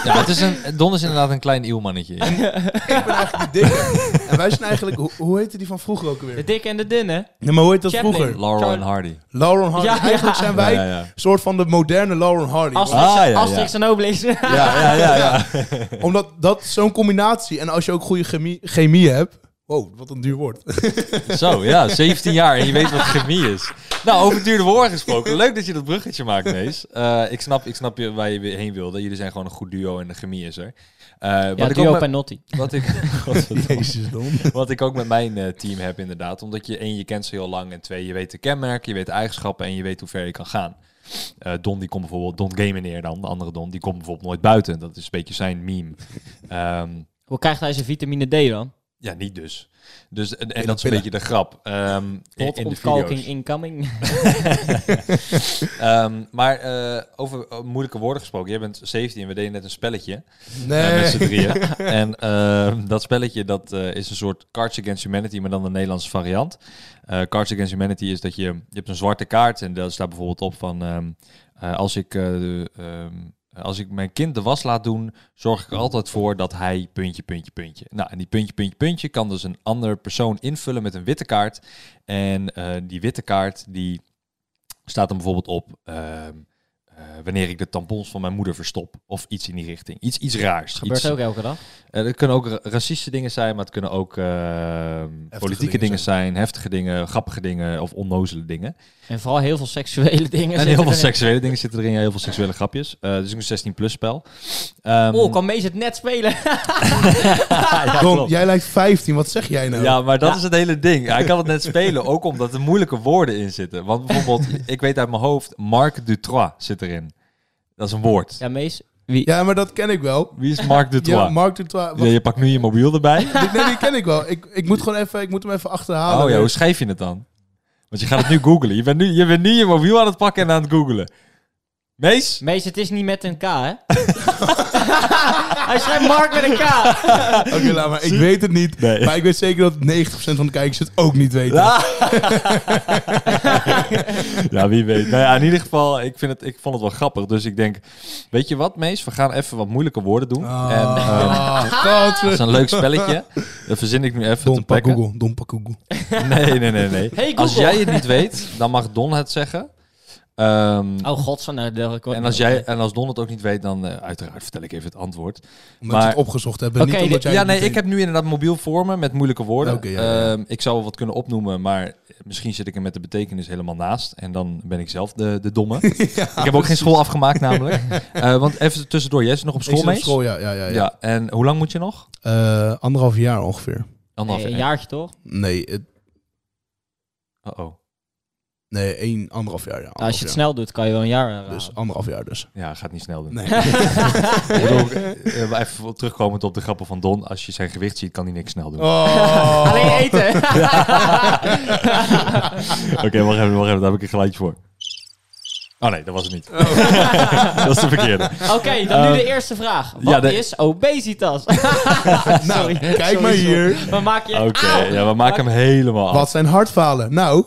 [SPEAKER 3] Ja, het is een, Don is inderdaad een klein ielmannetje.
[SPEAKER 5] ik ben eigenlijk de dikke. En wij zijn eigenlijk... Hoe, hoe heette die van vroeger ook
[SPEAKER 4] de
[SPEAKER 5] weer?
[SPEAKER 4] dikke en de dunne.
[SPEAKER 5] Nee, maar hoe heet dat
[SPEAKER 4] Chaplin.
[SPEAKER 5] vroeger?
[SPEAKER 3] Laurel
[SPEAKER 4] Charlie-
[SPEAKER 3] en Hardy.
[SPEAKER 5] Lauren Hardy.
[SPEAKER 4] Ja, ja.
[SPEAKER 5] eigenlijk zijn wij
[SPEAKER 3] Ja, ja, ja.
[SPEAKER 5] een soort van de moderne Lauren Hardy.
[SPEAKER 4] Asterix,
[SPEAKER 3] Ah, ja, ja.
[SPEAKER 4] Asterix en Obelix.
[SPEAKER 3] Ja, ja, ja. ja.
[SPEAKER 5] Omdat dat zo'n combinatie... En als je ook goede chemie, chemie hebt... Wow, wat een duur woord.
[SPEAKER 3] Zo, ja, 17 jaar en je weet wat chemie is. Nou, over duurde woorden gesproken. Leuk dat je dat bruggetje maakt, Mees. Eh, ik, snap, ik snap je waar je weer heen wilde. Jullie zijn gewoon een goed duo en de chemie is er. Eh, wat,
[SPEAKER 4] ja,
[SPEAKER 3] ik
[SPEAKER 4] duo
[SPEAKER 3] ook met,
[SPEAKER 4] Panotti.
[SPEAKER 3] wat, ik, Godverdomme.
[SPEAKER 5] Jezus, Don.
[SPEAKER 3] wat ik ook met mijn eh, team heb, inderdaad. Omdat je één, je kent ze heel lang. En twee, je weet de kenmerken, je weet de eigenschappen en je weet hoe ver je kan gaan. Eh, Don, die komt bijvoorbeeld, Don Gameneer dan, de andere Don, die komt bijvoorbeeld nooit buiten. Dat is een beetje zijn meme. Ehm,
[SPEAKER 4] Hoe krijgt hij zijn vitamine D dan?
[SPEAKER 3] ja, niet dus. dus en, en
[SPEAKER 5] de
[SPEAKER 3] dat is een
[SPEAKER 5] pillen.
[SPEAKER 3] beetje de grap. Ehm in-
[SPEAKER 4] Hot
[SPEAKER 3] in de
[SPEAKER 4] ontkalking
[SPEAKER 3] video's.
[SPEAKER 4] incoming.
[SPEAKER 3] Ehm, maar eh, over eh, moeilijke woorden gesproken. Jij bent 17 en we deden net een spelletje. eh, met
[SPEAKER 5] Nee.
[SPEAKER 3] z'n drieën. en ehm, dat spelletje dat, eh, is een soort Cards Against Humanity, maar dan de Nederlandse variant. Eh, Cards Against Humanity is dat je, je hebt een zwarte kaart. En daar staat bijvoorbeeld op van... ehm, eh, als, ik, eh, de, ehm, als ik mijn kind de was laat doen, zorg ik er altijd voor dat hij puntje, puntje, puntje. Nou, en die puntje, puntje, puntje kan dus een andere persoon invullen met een witte kaart. En eh, die witte kaart, die staat dan bijvoorbeeld op ehm, eh, wanneer ik de tampons van mijn moeder verstop. Of iets in die richting. Iets, iets raars.
[SPEAKER 4] Gebeurt
[SPEAKER 3] iets,
[SPEAKER 4] ook elke dag.
[SPEAKER 3] eh, er kunnen ook ra- racistische dingen zijn, maar het kunnen ook ehm, politieke
[SPEAKER 5] dingen
[SPEAKER 3] dingen zijn. heftige dingen, grappige dingen of onnozele dingen.
[SPEAKER 4] En vooral heel veel seksuele
[SPEAKER 3] En heel
[SPEAKER 4] dingen. zitten
[SPEAKER 3] veel
[SPEAKER 4] erin.
[SPEAKER 3] seksuele dingen zitten erin, ja, heel veel seksuele grapjes. Eh dus een 16-plus spel. Ehm,
[SPEAKER 4] Oh, kan Mees het net spelen?
[SPEAKER 3] ja,
[SPEAKER 5] Don,
[SPEAKER 3] klopt.
[SPEAKER 5] jij lijkt 15. Wat zeg jij nou?
[SPEAKER 3] Ja, maar dat
[SPEAKER 4] Oh. Ja.
[SPEAKER 3] is het hele ding. Hij kan het net spelen, ook omdat er moeilijke woorden in zitten. Want bijvoorbeeld, ik weet uit mijn hoofd, Marc Dutrois zit erin. Dat is een woord.
[SPEAKER 4] Ja, Mees. Wie?
[SPEAKER 5] Ja, maar dat ken ik wel.
[SPEAKER 3] Wie is Marc Dutrois?
[SPEAKER 5] Ja, Mark Dutois. Wat-
[SPEAKER 3] Ja, je pakt nu je mobiel erbij.
[SPEAKER 5] die- Nee, die ken ik wel. Ik, ik moet gewoon even... Ik moet hem even achterhalen.
[SPEAKER 3] Oh ja, hoe schrijf je het dan? Want je gaat het nu googlen. Je bent nu je, bent nu je mobiel aan het pakken en aan het googlen. Mees?
[SPEAKER 4] Mees, het is niet met een K, hè? hij schrijft Mark met een K.
[SPEAKER 5] Oké, laat maar. Ik weet het niet.
[SPEAKER 3] Nee. Ah.
[SPEAKER 5] Maar ik weet zeker dat 90% van de kijkers het ook niet weten.
[SPEAKER 3] ja, wie weet. Nou ja, in ieder geval, ik, vind het, ik vond het wel grappig. Dus ik denk, weet je wat Mees? We gaan even wat moeilijke woorden doen. En, ehm,
[SPEAKER 5] Ah, God,
[SPEAKER 3] dat is een leuk spelletje. Dat verzin ik nu even te
[SPEAKER 5] Don, pak
[SPEAKER 3] plekken.
[SPEAKER 5] Google. Don, pak Google.
[SPEAKER 3] Nee, nee, nee. nee.
[SPEAKER 4] Hey,
[SPEAKER 3] Als
[SPEAKER 4] Google.
[SPEAKER 3] jij het niet weet, dan mag Don het zeggen. Ehm,
[SPEAKER 4] Oh god, zo nou, dat ik
[SPEAKER 3] en, als jij, en als Don het ook niet weet, dan eh, uiteraard vertel ik even het antwoord.
[SPEAKER 5] Omdat
[SPEAKER 3] Maar-
[SPEAKER 5] ze het opgezocht hebben.
[SPEAKER 4] Oké,
[SPEAKER 5] niet omdat
[SPEAKER 4] dit-
[SPEAKER 5] jij
[SPEAKER 3] ja,
[SPEAKER 5] het
[SPEAKER 3] nee,
[SPEAKER 5] niet
[SPEAKER 3] ik
[SPEAKER 5] weet.
[SPEAKER 3] heb nu inderdaad mobiel voor me met moeilijke woorden.
[SPEAKER 5] Oké, ja, ja.
[SPEAKER 3] Ehm, ik zou wel wat kunnen opnoemen, maar misschien zit ik er met de betekenis helemaal naast. En dan ben ik zelf de, de domme. ik heb ook geen school afgemaakt namelijk. Eh, want even tussendoor, jij zit nog op
[SPEAKER 5] Ik
[SPEAKER 3] school
[SPEAKER 5] zit op
[SPEAKER 3] mee?
[SPEAKER 5] school, ja. ja, ja,
[SPEAKER 3] ja.
[SPEAKER 5] ja.
[SPEAKER 3] en hoe lang moet je nog?
[SPEAKER 5] Eh, anderhalf jaar ongeveer.
[SPEAKER 3] Anderhalf
[SPEAKER 4] Eh, Een
[SPEAKER 3] jaar.
[SPEAKER 4] jaartje toch?
[SPEAKER 5] Nee, het-
[SPEAKER 3] Oh, oh.
[SPEAKER 5] Nee, één, anderhalf jaar. Ja,
[SPEAKER 4] Nou, als je
[SPEAKER 5] anderhalf
[SPEAKER 4] het
[SPEAKER 5] jaar.
[SPEAKER 4] snel doet, kan je wel een jaar eh, halen.
[SPEAKER 5] Dus anderhalf jaar dus.
[SPEAKER 3] Ja, gaat niet snel doen.
[SPEAKER 5] Nee.
[SPEAKER 3] Ik bedoel, eh, maar even terugkomend op de grappen van Don. Als je zijn gewicht ziet, kan hij niks snel doen.
[SPEAKER 5] Oh.
[SPEAKER 4] Alleen eten.
[SPEAKER 3] Oké, wacht even, wacht even. Daar heb ik een geluidje voor. Oh nee, dat was het niet.
[SPEAKER 5] Oh.
[SPEAKER 3] dat is de verkeerde.
[SPEAKER 4] Oké, dan nu
[SPEAKER 3] Eh,
[SPEAKER 4] de eerste vraag. Wat
[SPEAKER 3] ja, de-
[SPEAKER 4] is obesitas?
[SPEAKER 5] nou, kijk maar hier.
[SPEAKER 4] We maken je
[SPEAKER 3] Oké,
[SPEAKER 4] aan.
[SPEAKER 3] ja, we maken hem helemaal af.
[SPEAKER 5] Wat zijn hartfalen? Nou,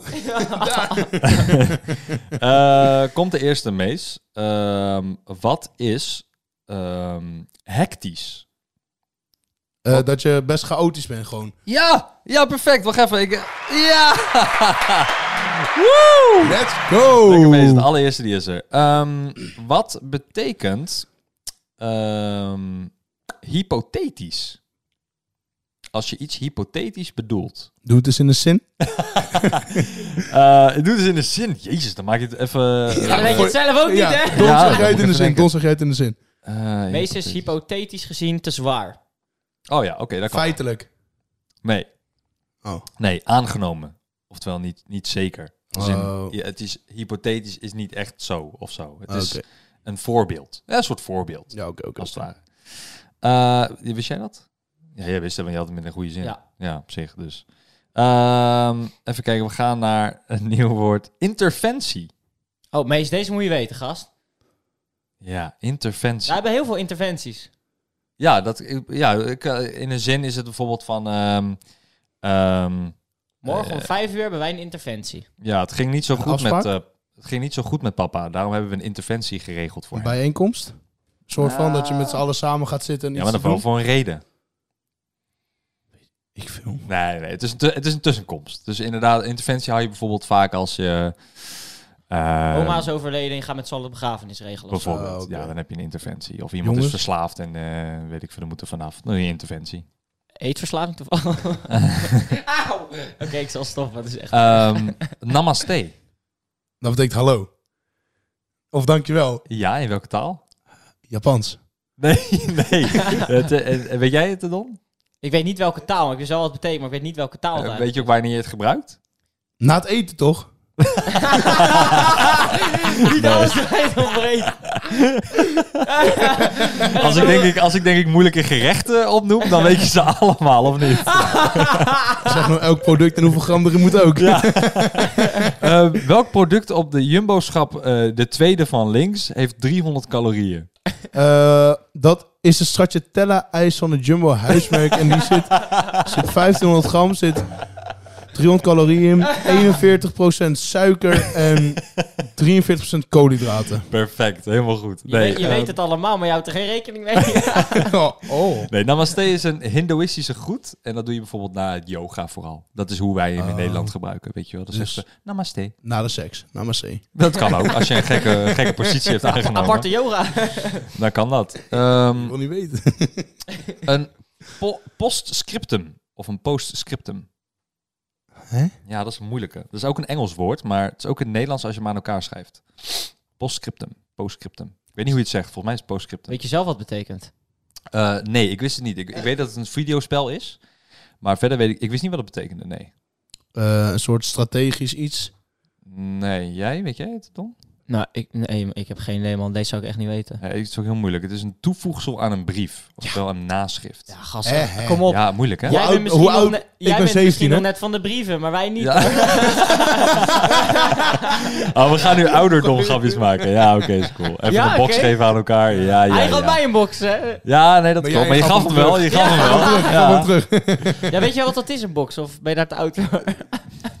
[SPEAKER 3] Eh, komt de eerste, Mees. Ehm, wat is ehm, hectisch?
[SPEAKER 5] eh, dat je best chaotisch bent gewoon.
[SPEAKER 4] Ah!
[SPEAKER 3] Ja, ja, perfect. Wacht even. Ik, ja!
[SPEAKER 5] Let's go!
[SPEAKER 3] Lekker bezig. De allereerste die is er. Ehm, wat betekent ehm, hypothetisch? Als je iets hypothetisch bedoelt.
[SPEAKER 5] Doe het eens in de zin.
[SPEAKER 3] Eh, doe dus in de zin. Jezus, dan maak je het even...
[SPEAKER 4] Dan weet je het zelf ook
[SPEAKER 5] Ja,
[SPEAKER 4] niet, hè?
[SPEAKER 5] Don
[SPEAKER 3] Ja,
[SPEAKER 5] zeg
[SPEAKER 3] dat
[SPEAKER 5] jij
[SPEAKER 3] moet ik
[SPEAKER 5] het in de
[SPEAKER 3] even
[SPEAKER 5] zin.
[SPEAKER 3] denken.
[SPEAKER 5] Don zeg jij het in de zin.
[SPEAKER 3] Eh,
[SPEAKER 4] Mees is
[SPEAKER 3] hypothetisch.
[SPEAKER 4] hypothetisch gezien te zwaar.
[SPEAKER 3] Oh ja, oké, dat kan.
[SPEAKER 5] Feitelijk.
[SPEAKER 3] Nee,
[SPEAKER 5] Oh.
[SPEAKER 3] nee, aangenomen. Oftewel niet, niet zeker. Als in,
[SPEAKER 5] Oh. Ah,
[SPEAKER 3] ja, het is hypothetisch, is niet echt zo of zo. Het is
[SPEAKER 5] Oké.
[SPEAKER 3] een voorbeeld. Ja, een soort voorbeeld,
[SPEAKER 5] Ja, oké, oké.
[SPEAKER 3] als het ware. Eh, wist jij dat? Ja, jij wist dat, want je had het met een goede zin.
[SPEAKER 4] Ja.
[SPEAKER 3] op zich dus. Ehm, even kijken, we gaan naar een nieuw woord. Interventie.
[SPEAKER 4] Oh, Mees, deze moet je weten, gast.
[SPEAKER 3] Ja, interventie.
[SPEAKER 4] We hebben heel veel interventies.
[SPEAKER 3] Ja, dat, ik- ja ik, eh, in een zin is het bijvoorbeeld van... ehm, ehm,
[SPEAKER 4] Morgen om
[SPEAKER 3] Eh.
[SPEAKER 4] vijf uur hebben wij een interventie.
[SPEAKER 3] Ja, het ging niet zo
[SPEAKER 5] Een
[SPEAKER 3] goed met.
[SPEAKER 5] afspraak?
[SPEAKER 3] eh, het ging niet zo goed met papa. Daarom hebben we een interventie geregeld voor
[SPEAKER 5] Een
[SPEAKER 3] hem.
[SPEAKER 5] bijeenkomst? Een soort van dat je met z'n allen samen gaat zitten en
[SPEAKER 3] Ja,
[SPEAKER 5] iets
[SPEAKER 3] maar
[SPEAKER 5] te
[SPEAKER 3] dat wel
[SPEAKER 5] doen?
[SPEAKER 3] voor een reden.
[SPEAKER 5] Ik film.
[SPEAKER 3] Nee, nee het, is een tu- het is een tussenkomst. Dus inderdaad, interventie hou je bijvoorbeeld vaak als je. eh,
[SPEAKER 4] Oma is overleden en je gaat met z'n allen de begrafenis regelen. of zo.
[SPEAKER 3] bijvoorbeeld.
[SPEAKER 5] Ah, oké.
[SPEAKER 3] Ja, dan heb je een interventie. Of iemand is
[SPEAKER 5] Jongens.
[SPEAKER 3] verslaafd en eh, weet ik veel, er moeten vanaf. Dan doe je interventie.
[SPEAKER 4] Eetverslaving toevallig. Auw! Oké, ik zal stoppen. Dat is echt...
[SPEAKER 3] Ehm, namaste.
[SPEAKER 5] Dat betekent hallo. Of dankjewel.
[SPEAKER 3] Ja, in welke taal?
[SPEAKER 5] Japans.
[SPEAKER 3] Nee, nee. Het, eh, eh, weet jij het, Don?
[SPEAKER 4] Ik weet niet welke taal, maar ik weet wel wat het betekent, maar ik weet niet welke taal het
[SPEAKER 3] Eh, weet je ook wanneer je het gebruikt?
[SPEAKER 5] Na het eten toch?
[SPEAKER 4] eigenlijk- Niet alles draait om breed.
[SPEAKER 3] Als ik, denk ik, als ik denk ik moeilijke gerechten opnoem, dan weet je ze allemaal, of niet?
[SPEAKER 5] Zeg nou elk product en hoeveel gram erin moet ook.
[SPEAKER 3] Ja. Eh, welk product op de Jumbo-schap, eh, de tweede van links, heeft 300 calorieën?
[SPEAKER 5] Eh, dat is de stracciatella ijs van het Jumbo huismerk. en die zit, zit 1500 gram, zit 300 calorieën, 41% suiker en 43% koolhydraten.
[SPEAKER 3] Perfect, helemaal goed.
[SPEAKER 4] Je, weet, je
[SPEAKER 3] eh, Nou.
[SPEAKER 4] weet het allemaal, maar je houdt er geen rekening mee.
[SPEAKER 5] Oh, oh.
[SPEAKER 3] Nee, namaste is een hindoeïstische groet. En dat doe je bijvoorbeeld na het yoga vooral. Dat is hoe wij hem in
[SPEAKER 5] Oh.
[SPEAKER 3] Nederland gebruiken, weet je wel. Dan
[SPEAKER 5] Dus-
[SPEAKER 3] zeggen ze eh, namaste.
[SPEAKER 5] Na de seks, namaste.
[SPEAKER 3] Dat kan ook. Als je een gekke, gekke positie hebt
[SPEAKER 4] Aparte
[SPEAKER 3] aangenomen,
[SPEAKER 4] yoga.
[SPEAKER 3] dan kan dat. Ehm,
[SPEAKER 5] Ik wil niet weten.
[SPEAKER 3] een po- postscriptum of een postscriptum.
[SPEAKER 5] Hè?
[SPEAKER 3] Ja, dat is een moeilijke. Dat is ook een Engels woord, maar het is ook in het Nederlands als je hem aan elkaar schrijft. Postscriptum, postscriptum. Ik weet niet hoe je het zegt. Volgens mij is het postscriptum.
[SPEAKER 4] Weet je zelf wat het betekent?
[SPEAKER 3] Eh, nee, ik wist het niet. Ik, ik weet dat het een videospel is, maar verder weet ik... Ik wist niet wat het betekende, nee.
[SPEAKER 5] Eh, een soort strategisch iets.
[SPEAKER 3] Nee, jij? Weet jij het, Don?
[SPEAKER 4] Nou, ik, nee, ik heb geen idee, man. Deze zou ik echt niet weten.
[SPEAKER 3] Nee, het is ook heel moeilijk. Het is een toevoegsel aan een brief. Ofwel een naschrift.
[SPEAKER 4] Ja,
[SPEAKER 3] Ja,
[SPEAKER 4] gast.
[SPEAKER 5] Eh, hè.
[SPEAKER 4] Kom op.
[SPEAKER 3] moeilijk, hè?
[SPEAKER 5] Hoe
[SPEAKER 4] Jij
[SPEAKER 5] oud-
[SPEAKER 4] bent misschien,
[SPEAKER 5] hoe
[SPEAKER 4] nog,
[SPEAKER 5] oud-
[SPEAKER 4] ne-
[SPEAKER 5] ik
[SPEAKER 4] jij
[SPEAKER 5] ben
[SPEAKER 4] bent
[SPEAKER 5] 17,
[SPEAKER 4] misschien
[SPEAKER 5] hè?
[SPEAKER 4] nog net van de brieven, maar wij niet.
[SPEAKER 3] Ja. oh, we gaan nu ouderdomgrapjes maken. Ja, oké, is cool. Even
[SPEAKER 4] Ja,
[SPEAKER 3] een box
[SPEAKER 4] oké.
[SPEAKER 3] geven aan elkaar. Ja, ja,
[SPEAKER 4] Hij gaat
[SPEAKER 3] ja.
[SPEAKER 4] mij een box, hè?
[SPEAKER 3] Ja, nee, dat
[SPEAKER 5] Maar
[SPEAKER 3] klopt.
[SPEAKER 5] jij
[SPEAKER 3] Maar je
[SPEAKER 5] gaf
[SPEAKER 3] gaf hem
[SPEAKER 5] hem
[SPEAKER 3] wel. Je
[SPEAKER 5] terug.
[SPEAKER 3] gaf hem wel.
[SPEAKER 5] Kom maar
[SPEAKER 3] Ja.
[SPEAKER 5] terug.
[SPEAKER 4] Ja, weet je wat dat is, een box? Of ben je daar te oud voor?
[SPEAKER 5] Of
[SPEAKER 3] Ja,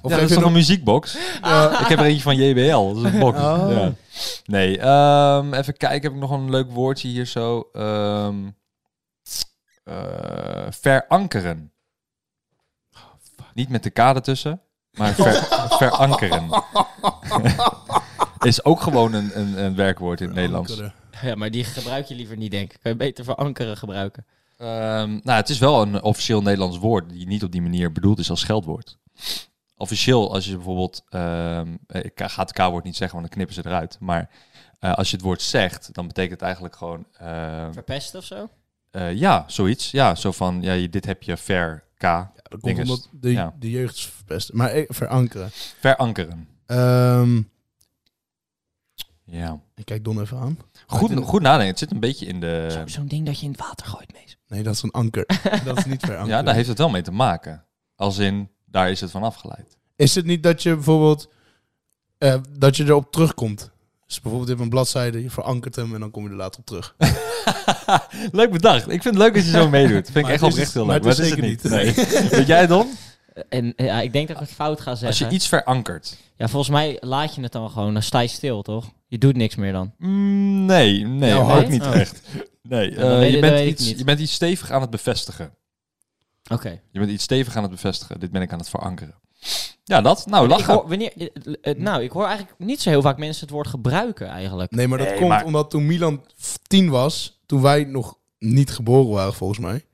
[SPEAKER 5] geef
[SPEAKER 3] dat
[SPEAKER 5] je
[SPEAKER 3] is toch
[SPEAKER 5] nog-
[SPEAKER 3] een muziekbox? Ik heb er eentje van JBL. Dat is een box.
[SPEAKER 5] Oh.
[SPEAKER 3] Ja. Nee, ehm, even kijken. Heb ik nog een leuk woordje hier zo? Ehm, eh, verankeren. Niet met de K ertussen, maar ver- verankeren. is ook gewoon een, een, een werkwoord in het Nederlands.
[SPEAKER 4] Ja, maar die gebruik je liever niet, denk ik. Kan je beter voor ankeren gebruiken.
[SPEAKER 3] Ehm, nou, het is wel een officieel Nederlands woord die niet op die manier bedoeld is als scheldwoord. Officieel, als je bijvoorbeeld, ehm, eh, ik ga het K-woord niet zeggen, want dan knippen ze eruit. Maar eh, als je het woord zegt, dan betekent het eigenlijk gewoon, ehm,
[SPEAKER 4] Verpesten of zo?
[SPEAKER 3] eh, ja, zoiets. Ja, zo van, ja, je- dit heb je ver K,
[SPEAKER 5] Ja, dat komt
[SPEAKER 3] Dinges.
[SPEAKER 5] omdat de,
[SPEAKER 3] Ja.
[SPEAKER 5] de jeugd is verpest. Maar eh, verankeren.
[SPEAKER 3] verankeren.
[SPEAKER 5] Ehm,
[SPEAKER 3] Ja.
[SPEAKER 5] ik kijk Don even aan.
[SPEAKER 3] Goed, goed nadenken. Het zit een beetje in
[SPEAKER 4] Zo-
[SPEAKER 3] de...
[SPEAKER 4] Zo'n ding dat je in het water gooit, mees.
[SPEAKER 5] Nee, dat is een anker. dat is niet ver anker.
[SPEAKER 3] Ja, daar heeft het wel mee te maken. Als in, daar is het van afgeleid.
[SPEAKER 5] Is het niet dat je bijvoorbeeld eh, dat je erop terugkomt? Dus bijvoorbeeld in een bladzijde, je verankert hem en dan kom je er later op terug.
[SPEAKER 3] leuk bedacht. Ik vind het leuk dat je zo meedoet. Vind
[SPEAKER 5] Maar
[SPEAKER 3] ik echt
[SPEAKER 5] het is
[SPEAKER 3] oprecht
[SPEAKER 5] het-
[SPEAKER 3] heel
[SPEAKER 5] maar
[SPEAKER 3] leuk. Maar het is het niet.
[SPEAKER 5] zeker
[SPEAKER 3] Nee. Weet jij Don?
[SPEAKER 4] En eh, ja, ik denk dat ik het fout ga
[SPEAKER 3] Als
[SPEAKER 4] zeggen.
[SPEAKER 3] je iets verankert.
[SPEAKER 4] Ja, volgens mij laat je het dan gewoon. Dan sta je stil, toch? Je doet niks meer dan.
[SPEAKER 3] Mm, nee, nee,
[SPEAKER 5] Nou,
[SPEAKER 3] ook
[SPEAKER 4] nee?
[SPEAKER 3] niet
[SPEAKER 4] Oh.
[SPEAKER 3] echt. Nee,
[SPEAKER 4] dan
[SPEAKER 3] eh,
[SPEAKER 4] weet-
[SPEAKER 3] je,
[SPEAKER 4] dan
[SPEAKER 3] bent
[SPEAKER 4] weet ik
[SPEAKER 3] iets,
[SPEAKER 4] niet.
[SPEAKER 3] je bent iets stevig aan het bevestigen.
[SPEAKER 4] Oké.
[SPEAKER 3] Je bent iets stevig aan het bevestigen. Dit ben ik aan het verankeren. Ja, dat. Nou,
[SPEAKER 4] Ik
[SPEAKER 3] lachen.
[SPEAKER 4] hoor, wanneer, eh, eh, nou, ik hoor eigenlijk niet zo heel vaak mensen het woord gebruiken eigenlijk.
[SPEAKER 5] Nee, maar dat
[SPEAKER 3] Nee,
[SPEAKER 5] komt
[SPEAKER 3] maar-
[SPEAKER 5] omdat toen Milan f- tien was, toen wij nog niet geboren waren volgens mij.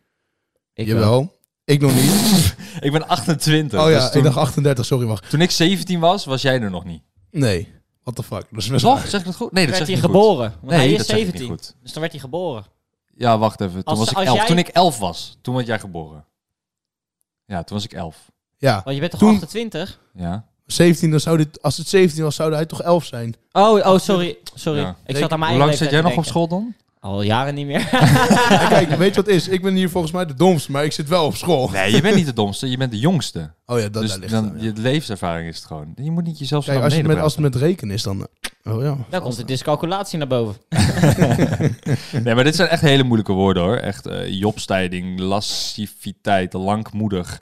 [SPEAKER 4] Ik eh, wel.
[SPEAKER 5] Jawel. Ik nog niet.
[SPEAKER 3] Ik ben 28.
[SPEAKER 5] oh ja,
[SPEAKER 3] dus toen,
[SPEAKER 5] ik dacht 38, sorry, wacht.
[SPEAKER 3] toen ik 17 was, was jij er nog niet.
[SPEAKER 5] Nee, what the fuck. Dat is best
[SPEAKER 3] Toch? Zeg ik dat goed? Nee, dat
[SPEAKER 4] werd
[SPEAKER 3] zeg
[SPEAKER 4] hij
[SPEAKER 3] ik niet goed.
[SPEAKER 4] geboren? Nou, Want
[SPEAKER 3] Nee,
[SPEAKER 4] hij is
[SPEAKER 3] dat zeg ik niet
[SPEAKER 4] 17.
[SPEAKER 3] goed.
[SPEAKER 4] Dus dan werd hij geboren.
[SPEAKER 3] Ja, wacht even. Toen
[SPEAKER 4] Als-
[SPEAKER 3] was ik
[SPEAKER 4] als
[SPEAKER 3] 11.
[SPEAKER 4] jij-
[SPEAKER 3] Toen ik 11 was, toen werd jij geboren. Ja, toen was ik 11.
[SPEAKER 5] Ja,
[SPEAKER 4] Want je bent toch
[SPEAKER 5] Toen-
[SPEAKER 4] 28?
[SPEAKER 3] Ja.
[SPEAKER 5] 17, dan zou dit, als het 17 was, zou hij toch 11 zijn?
[SPEAKER 4] Oh, oh sorry. sorry.
[SPEAKER 3] Ja.
[SPEAKER 4] Ik zat aan mijn
[SPEAKER 3] Hoe lang zat jij nog op
[SPEAKER 4] school?
[SPEAKER 3] school dan?
[SPEAKER 4] Al jaren niet meer.
[SPEAKER 5] En kijk, weet je wat is? Ik ben hier volgens mij de domste, maar ik zit wel op school.
[SPEAKER 3] Nee, je bent niet de domste, je bent de jongste.
[SPEAKER 5] Oh ja, dat
[SPEAKER 3] dus
[SPEAKER 5] daar ligt
[SPEAKER 3] dan,
[SPEAKER 5] het aan, ja.
[SPEAKER 3] je levenservaring is het gewoon. Je moet niet jezelf zo
[SPEAKER 5] Kijk,
[SPEAKER 3] naar
[SPEAKER 5] als, je
[SPEAKER 3] beneden
[SPEAKER 5] met, als het met rekenen is, dan... eh, Oh ja.
[SPEAKER 4] Dan komt de discalculatie naar boven.
[SPEAKER 3] praten. Nee, maar dit zijn echt hele moeilijke woorden hoor. Echt eh, jobstijding, lassiviteit, langmoedig,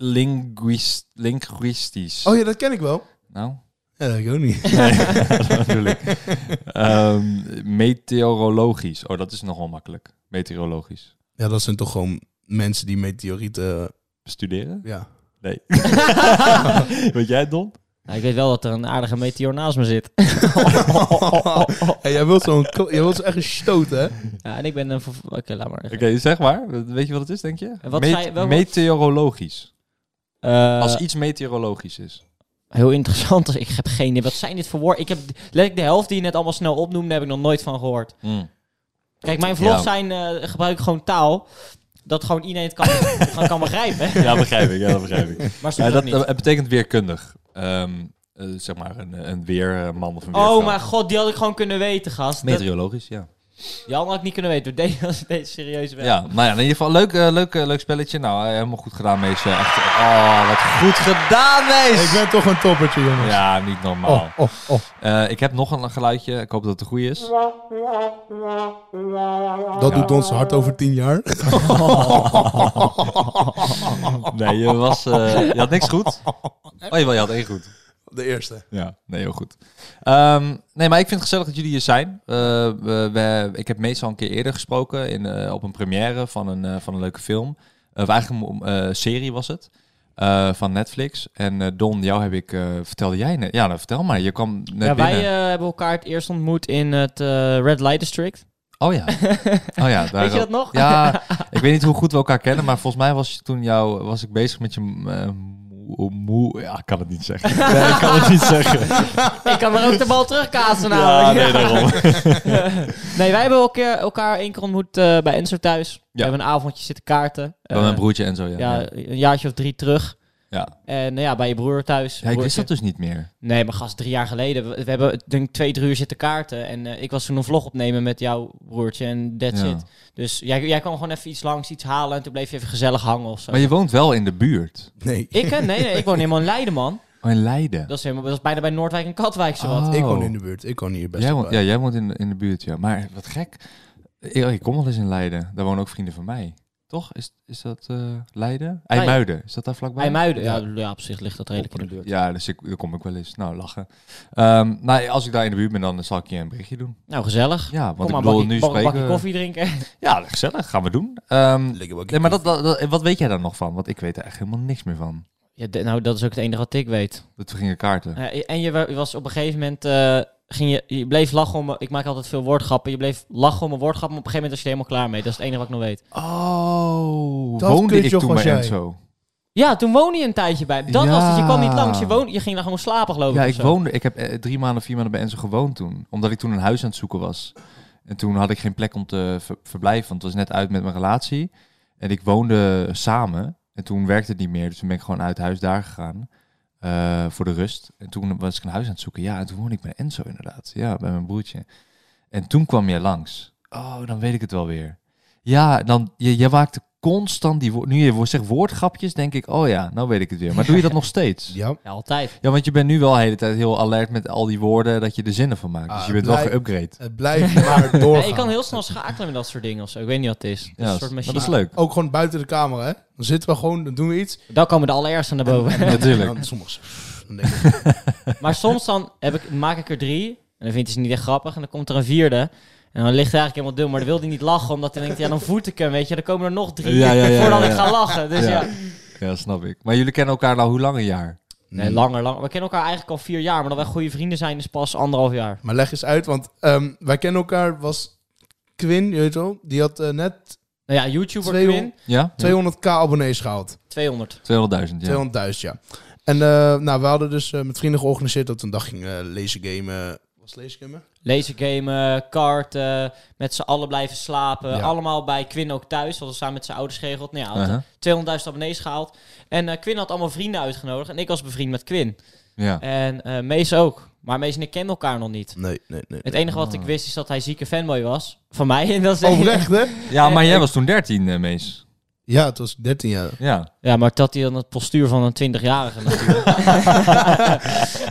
[SPEAKER 3] linguist, linguistisch.
[SPEAKER 5] Oh ja, dat ken ik wel.
[SPEAKER 3] Nou,
[SPEAKER 5] Ja, dat ik ook niet.
[SPEAKER 3] dat bedoel ik. Ehm, meteorologisch. Oh, dat is nogal makkelijk. Meteorologisch.
[SPEAKER 5] Ja, dat zijn toch gewoon mensen die meteorieten... eh,
[SPEAKER 3] Studeren?
[SPEAKER 5] ja.
[SPEAKER 3] Nee. Weet jij, Don?
[SPEAKER 4] Nou, ik weet wel dat er een aardige meteor naast me zit.
[SPEAKER 5] Oh, Hey, jij wilt zo'n... kl- Jij wilt zo echt een stoot, hè?
[SPEAKER 4] Ja, en ik ben een... verv- Oké, laat maar.
[SPEAKER 3] Oké, zeg maar. Weet je wat het is, denk je?
[SPEAKER 4] En wat
[SPEAKER 3] Met-
[SPEAKER 4] zei je- wel-
[SPEAKER 3] meteorologisch.
[SPEAKER 4] Eh,
[SPEAKER 3] Als iets meteorologisch is.
[SPEAKER 4] Heel interessant. dus Ik heb geen idee. Wat zijn dit voor woorden? Ik heb letterlijk de helft die je net allemaal snel opnoemde, heb ik nog nooit van gehoord. Kijk, mijn vlogs
[SPEAKER 3] Ja.
[SPEAKER 4] zijn, eh gebruik ik gewoon taal. Dat gewoon iedereen het kan, gewoon kan begrijpen. hè.
[SPEAKER 3] Ja, begrijp ik. Ja, dat begrijp ik.
[SPEAKER 4] Maar soms
[SPEAKER 3] Ja,
[SPEAKER 4] ook
[SPEAKER 3] dat,
[SPEAKER 4] niet.
[SPEAKER 3] dat betekent weerkundig. Ehm, eh, zeg maar een, een weerman of een weervrouw.
[SPEAKER 4] oh mijn god, die had ik gewoon kunnen weten, gast. Dat, die
[SPEAKER 3] Meteorologisch, ja.
[SPEAKER 4] allemaal had ik niet kunnen weten. Door deze, als ik deze serieus ben.
[SPEAKER 3] Ja, nou ja, in ieder geval leuk, eh, leuk, eh, leuk spelletje. Nou, eh, helemaal goed gedaan, mees. Eh, Echt, oh, wat goed gedaan, mees!
[SPEAKER 5] Ik ben toch een toppertje, jongens.
[SPEAKER 3] Ja, niet normaal.
[SPEAKER 5] Oh, oh, oh.
[SPEAKER 3] Eh, ik heb nog een geluidje. Ik hoop dat het een goede is.
[SPEAKER 5] Dat doet ons hart over tien jaar.
[SPEAKER 3] Nee, je, was, eh, je had niks goed. Oh, jawel, je had één goed.
[SPEAKER 5] De eerste.
[SPEAKER 3] Ja, nee, heel goed. Ehm, nee, maar ik vind het gezellig dat jullie hier zijn. Eh, we, we- ik heb meestal een keer eerder gesproken in, eh, op een première van een, eh, van een leuke film. Eh, Of eigenlijk een eh, serie was het. eh, van Netflix. En eh, Don, jou heb ik... eh, vertelde jij net? Ja, nou, vertel maar. Je kwam net
[SPEAKER 4] Ja, wij
[SPEAKER 3] binnen.
[SPEAKER 4] eh, hebben elkaar het eerst ontmoet in het eh, Red Light District.
[SPEAKER 3] Oh ja. Oh ja, daar
[SPEAKER 4] Weet je dat nog?
[SPEAKER 3] Ja, ik weet niet hoe goed we elkaar kennen, maar volgens mij was je toen jou, was ik bezig met je eh, moe, moe- Ja, ik kan het niet zeggen. Nee, ik kan het niet zeggen.
[SPEAKER 4] ik kan er ook de bal terugkaatsen
[SPEAKER 3] Ja, nee,
[SPEAKER 4] namelijk.
[SPEAKER 3] daarom.
[SPEAKER 4] Nee, wij hebben elkaar, elkaar één keer ontmoet eh, bij Enzo thuis. We
[SPEAKER 3] Ja.
[SPEAKER 4] hebben een avondje zitten kaarten.
[SPEAKER 3] Bij mijn
[SPEAKER 4] Eh,
[SPEAKER 3] broertje en zo, ja.
[SPEAKER 4] ja,
[SPEAKER 3] ja.
[SPEAKER 4] een jaartje of drie terug.
[SPEAKER 3] Ja.
[SPEAKER 4] En nou ja, bij je broer thuis.
[SPEAKER 3] Ja, ik wist
[SPEAKER 4] Broertje.
[SPEAKER 3] dat dus niet meer.
[SPEAKER 4] Nee, maar gast, drie jaar geleden. We, we hebben denk ik twee, drie uur zitten kaarten. En eh, ik was toen een vlog opnemen met jouw broertje en that's
[SPEAKER 3] Ja.
[SPEAKER 4] it. Dus jij, jij kwam gewoon even iets langs, iets halen. En toen bleef je even gezellig hangen of zo.
[SPEAKER 3] Maar je woont wel in de buurt.
[SPEAKER 5] Nee.
[SPEAKER 4] Ik, eh, nee, nee, ik woon helemaal in Leiden, man.
[SPEAKER 3] Oh, in Leiden.
[SPEAKER 4] Dat is, helemaal, dat is bijna bij Noordwijk en Katwijk zowat.
[SPEAKER 3] Oh.
[SPEAKER 5] Ik woon in de buurt. Ik woon hier best
[SPEAKER 3] Jij
[SPEAKER 5] wel
[SPEAKER 3] woont, ja, jij woont in, de- in de buurt, ja. Maar wat gek. Ik, ik kom wel eens in Leiden. Daar wonen ook vrienden van mij. Toch? Is, is dat eh, Leiden? IJmuiden. Is dat daar vlakbij?
[SPEAKER 4] IJmuiden. Ja, ja, op zich ligt dat redelijk in de buurt.
[SPEAKER 3] Ja, dus ik, daar kom ik wel eens. Nou, lachen. Ehm, nou, als ik daar in de buurt ben, dan zal ik je een berichtje doen.
[SPEAKER 4] Nou, gezellig.
[SPEAKER 3] Ja, want
[SPEAKER 4] Kom maar,
[SPEAKER 3] ik bedoel,
[SPEAKER 4] bakje,
[SPEAKER 3] nu
[SPEAKER 4] bak- een
[SPEAKER 3] spreken...
[SPEAKER 4] bakje koffie drinken.
[SPEAKER 3] Ja, gezellig. Gaan we doen. Ehm,
[SPEAKER 5] Lekker bakje
[SPEAKER 3] nee, maar dat, dat- dat- wat weet jij daar nog van? Want ik weet er echt helemaal niks meer van.
[SPEAKER 4] Ja, de- nou, dat is ook het enige wat ik weet.
[SPEAKER 3] Dat we gingen kaarten.
[SPEAKER 4] Ja, en je wa- je was op een gegeven moment... eh, ging je, je bleef lachen om... Ik maak altijd veel woordgrappen. Je bleef lachen om een woordgrap, maar op een gegeven moment was je er helemaal klaar mee. Dat is het enige wat ik nog weet.
[SPEAKER 3] Oh,
[SPEAKER 5] Dat
[SPEAKER 3] woonde ik
[SPEAKER 5] kutjoch
[SPEAKER 3] toen
[SPEAKER 5] was
[SPEAKER 3] bij
[SPEAKER 5] jij.
[SPEAKER 3] Enzo.
[SPEAKER 4] Ja, toen woonde je een tijdje bij. Dat
[SPEAKER 3] Ja.
[SPEAKER 4] was het. Je kwam niet langs. Je, woonde, je ging daar gewoon slapen, geloof ik.
[SPEAKER 3] Ja,
[SPEAKER 4] of
[SPEAKER 3] ik
[SPEAKER 4] zo.
[SPEAKER 3] woonde... Ik heb eh, drie maanden, vier maanden bij Enzo gewoond toen. Omdat ik toen een huis aan het zoeken was. En toen had ik geen plek om te ver- verblijven. Want het was net uit met mijn relatie. En ik woonde samen. En toen werkte het niet meer. Dus toen ben ik gewoon uit huis daar gegaan. Eh, eh, voor de rust. En toen was ik een huis aan het zoeken. Ja, en toen woonde ik bij Enzo inderdaad. Ja, bij mijn broertje. En toen kwam jij langs. Oh, dan weet ik het wel weer. Ja, dan, je, je maakte constant die woord. Nu je wo- zegt woordgrapjes, denk ik, oh ja, nou weet ik het weer. Maar doe je dat nog steeds?
[SPEAKER 5] Ja.
[SPEAKER 4] Ja, altijd.
[SPEAKER 3] Ja, want je bent nu wel de hele tijd heel alert met al die woorden dat je de zinnen van maakt.
[SPEAKER 5] Ah,
[SPEAKER 3] dus je bent wel
[SPEAKER 5] blij-
[SPEAKER 3] geüpgrade.
[SPEAKER 5] Het blijft maar doorgaan.
[SPEAKER 4] Ja, ik kan heel snel schakelen met dat soort dingen of zo. Ik weet niet wat het is.
[SPEAKER 3] Ja,
[SPEAKER 4] een soort
[SPEAKER 3] maar
[SPEAKER 4] machine.
[SPEAKER 3] dat is leuk.
[SPEAKER 5] Ook gewoon buiten de camera, hè? Dan zitten we gewoon, dan doen we iets.
[SPEAKER 4] Dan komen de allereersten naar boven.
[SPEAKER 5] En- en-
[SPEAKER 3] Natuurlijk.
[SPEAKER 5] en dan Soms. dan denk ik,
[SPEAKER 4] Maar soms dan heb ik, maak ik er drie. En dan vindt hij ze niet echt grappig. En dan komt er een vierde. En dan ligt hij eigenlijk helemaal dum. Maar dan wil hij niet lachen. Omdat hij denkt, ja dan voet ik hem. Weet je, dan komen er nog drie.
[SPEAKER 3] Ja, ja, ja,
[SPEAKER 4] voordat
[SPEAKER 3] ja,
[SPEAKER 4] ik
[SPEAKER 3] ja.
[SPEAKER 4] ga lachen. Dus ja.
[SPEAKER 3] Ja. Ja, snap ik. Maar jullie kennen elkaar nou hoe lang? Een jaar?
[SPEAKER 4] Nee, langer, langer. We kennen elkaar eigenlijk al vier jaar. Maar dat wij goede vrienden zijn is pas anderhalf jaar.
[SPEAKER 5] Maar leg eens uit, want ehm, wij kennen elkaar, was Quinn, je weet wel, die had eh, net
[SPEAKER 4] Nou ja, YouTuber
[SPEAKER 5] Tweehon-
[SPEAKER 4] Quinn.
[SPEAKER 3] Ja?
[SPEAKER 5] 200k abonnees gehaald.
[SPEAKER 4] 200.
[SPEAKER 3] 200.000, ja.
[SPEAKER 5] 200.000, ja. En eh, nou, we hadden dus eh, met vrienden georganiseerd dat we een dag gingen eh, lezen gamen. was het lezen gamen?
[SPEAKER 4] Lasergamen, karten, met z'n allen blijven slapen.
[SPEAKER 5] Ja.
[SPEAKER 4] Allemaal bij Quinn ook thuis. Dat was samen met zijn ouders geregeld. Nou ja, had
[SPEAKER 3] Uh-huh.
[SPEAKER 4] 200.000 abonnees gehaald. En eh Quinn had allemaal vrienden uitgenodigd. En ik was bevriend met Quinn.
[SPEAKER 3] ja.
[SPEAKER 4] En eh Mees ook. Maar Mees en ik kennen elkaar nog niet.
[SPEAKER 5] Nee, nee, nee. Oh,
[SPEAKER 4] Het enige wat ik wist is dat hij zieke fanboy was. Van mij. En dat is
[SPEAKER 5] Oprecht, hè?
[SPEAKER 4] Eh,
[SPEAKER 3] Ja, maar jij was toen 13, eh, Mees.
[SPEAKER 5] Ja, het was 13 jaar.
[SPEAKER 3] Ja.
[SPEAKER 4] Ja, maar dat hij dan het postuur van een 20-jarige natuurlijk.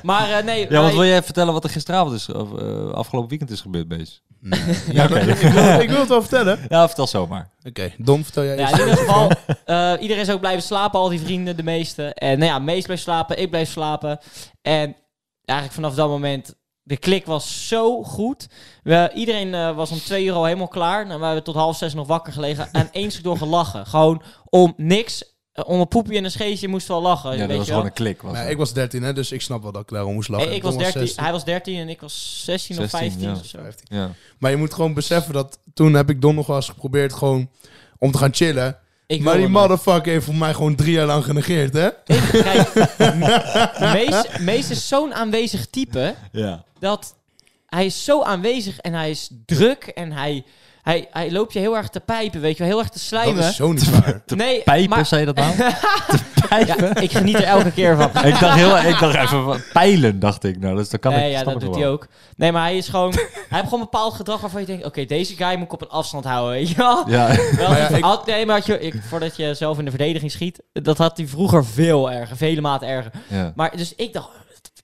[SPEAKER 4] maar eh, nee.
[SPEAKER 3] Ja,
[SPEAKER 4] wij-
[SPEAKER 3] want wil jij vertellen wat er gisteravond is, of, eh, afgelopen weekend is gebeurd, Mees?
[SPEAKER 5] Ja, dat- ik, wil, ik wil het wel vertellen. Oké,
[SPEAKER 3] Ja, vertel zomaar.
[SPEAKER 5] Don, vertel jij
[SPEAKER 4] Ja,
[SPEAKER 5] eens.
[SPEAKER 4] in ieder geval, eh, iedereen is ook blijven slapen, al die vrienden, de meeste. En nou ja, Mees bleef slapen, ik bleef slapen. En eigenlijk vanaf dat moment, de klik was zo goed. We, iedereen eh, was om twee uur al helemaal klaar. Nou, we hebben tot half zes nog wakker gelegen en één stuk door gelachen. Gewoon om niks, eh, om een poepje en een scheetje moesten we al lachen.
[SPEAKER 3] Ja,
[SPEAKER 4] weet
[SPEAKER 3] dat was
[SPEAKER 4] je
[SPEAKER 3] gewoon
[SPEAKER 4] wel.
[SPEAKER 3] een klik. Was
[SPEAKER 5] Maar ja,
[SPEAKER 3] dat.
[SPEAKER 5] ik was 13, hè, dus ik snap wel dat ik daarom moest lachen.
[SPEAKER 4] Eh, ik
[SPEAKER 5] Don
[SPEAKER 4] was 13,
[SPEAKER 5] 16.
[SPEAKER 4] hij was 13 en ik was 16, of
[SPEAKER 3] 16,
[SPEAKER 4] 15
[SPEAKER 3] ja.
[SPEAKER 4] of zo.
[SPEAKER 5] 15.
[SPEAKER 3] Ja.
[SPEAKER 5] Maar je moet gewoon beseffen dat toen heb ik Don nog wel eens geprobeerd gewoon om te gaan chillen.
[SPEAKER 4] Ik
[SPEAKER 5] maar die
[SPEAKER 4] wilde hem.
[SPEAKER 5] motherfucker heeft voor mij gewoon drie jaar lang genegeerd, hè?
[SPEAKER 4] Kijk, Mees, Mees is zo'n aanwezig type.
[SPEAKER 3] ja.
[SPEAKER 4] dat hij is zo aanwezig en hij is druk en hij, hij, hij loopt je heel erg te pijpen, weet je wel, heel erg te slijmen.
[SPEAKER 5] Dat is zo niet waar.
[SPEAKER 4] nee,
[SPEAKER 3] Pijpen,
[SPEAKER 4] maar-
[SPEAKER 3] zei je dat nou?
[SPEAKER 4] Ja, ik geniet er elke keer van.
[SPEAKER 3] ik, dacht heel, ik dacht even, van pijlen dacht ik. Nou, dus dat kan
[SPEAKER 4] Nee,
[SPEAKER 3] ik
[SPEAKER 4] ja,
[SPEAKER 3] snap
[SPEAKER 4] dat
[SPEAKER 3] ik
[SPEAKER 4] doet hij
[SPEAKER 3] wel.
[SPEAKER 4] ook. Nee, maar hij is gewoon... hij heeft gewoon een bepaald gedrag waarvan je denkt... Oké, deze guy moet ik op een afstand houden, weet je wel?
[SPEAKER 3] Ja,
[SPEAKER 4] Wel,
[SPEAKER 5] Maar ja, ik-
[SPEAKER 4] had- nee, maar had je, ik, voordat je zelf in de verdediging schiet... Dat had hij vroeger veel erger. Vele maten erger.
[SPEAKER 3] ja.
[SPEAKER 4] Maar dus ik dacht...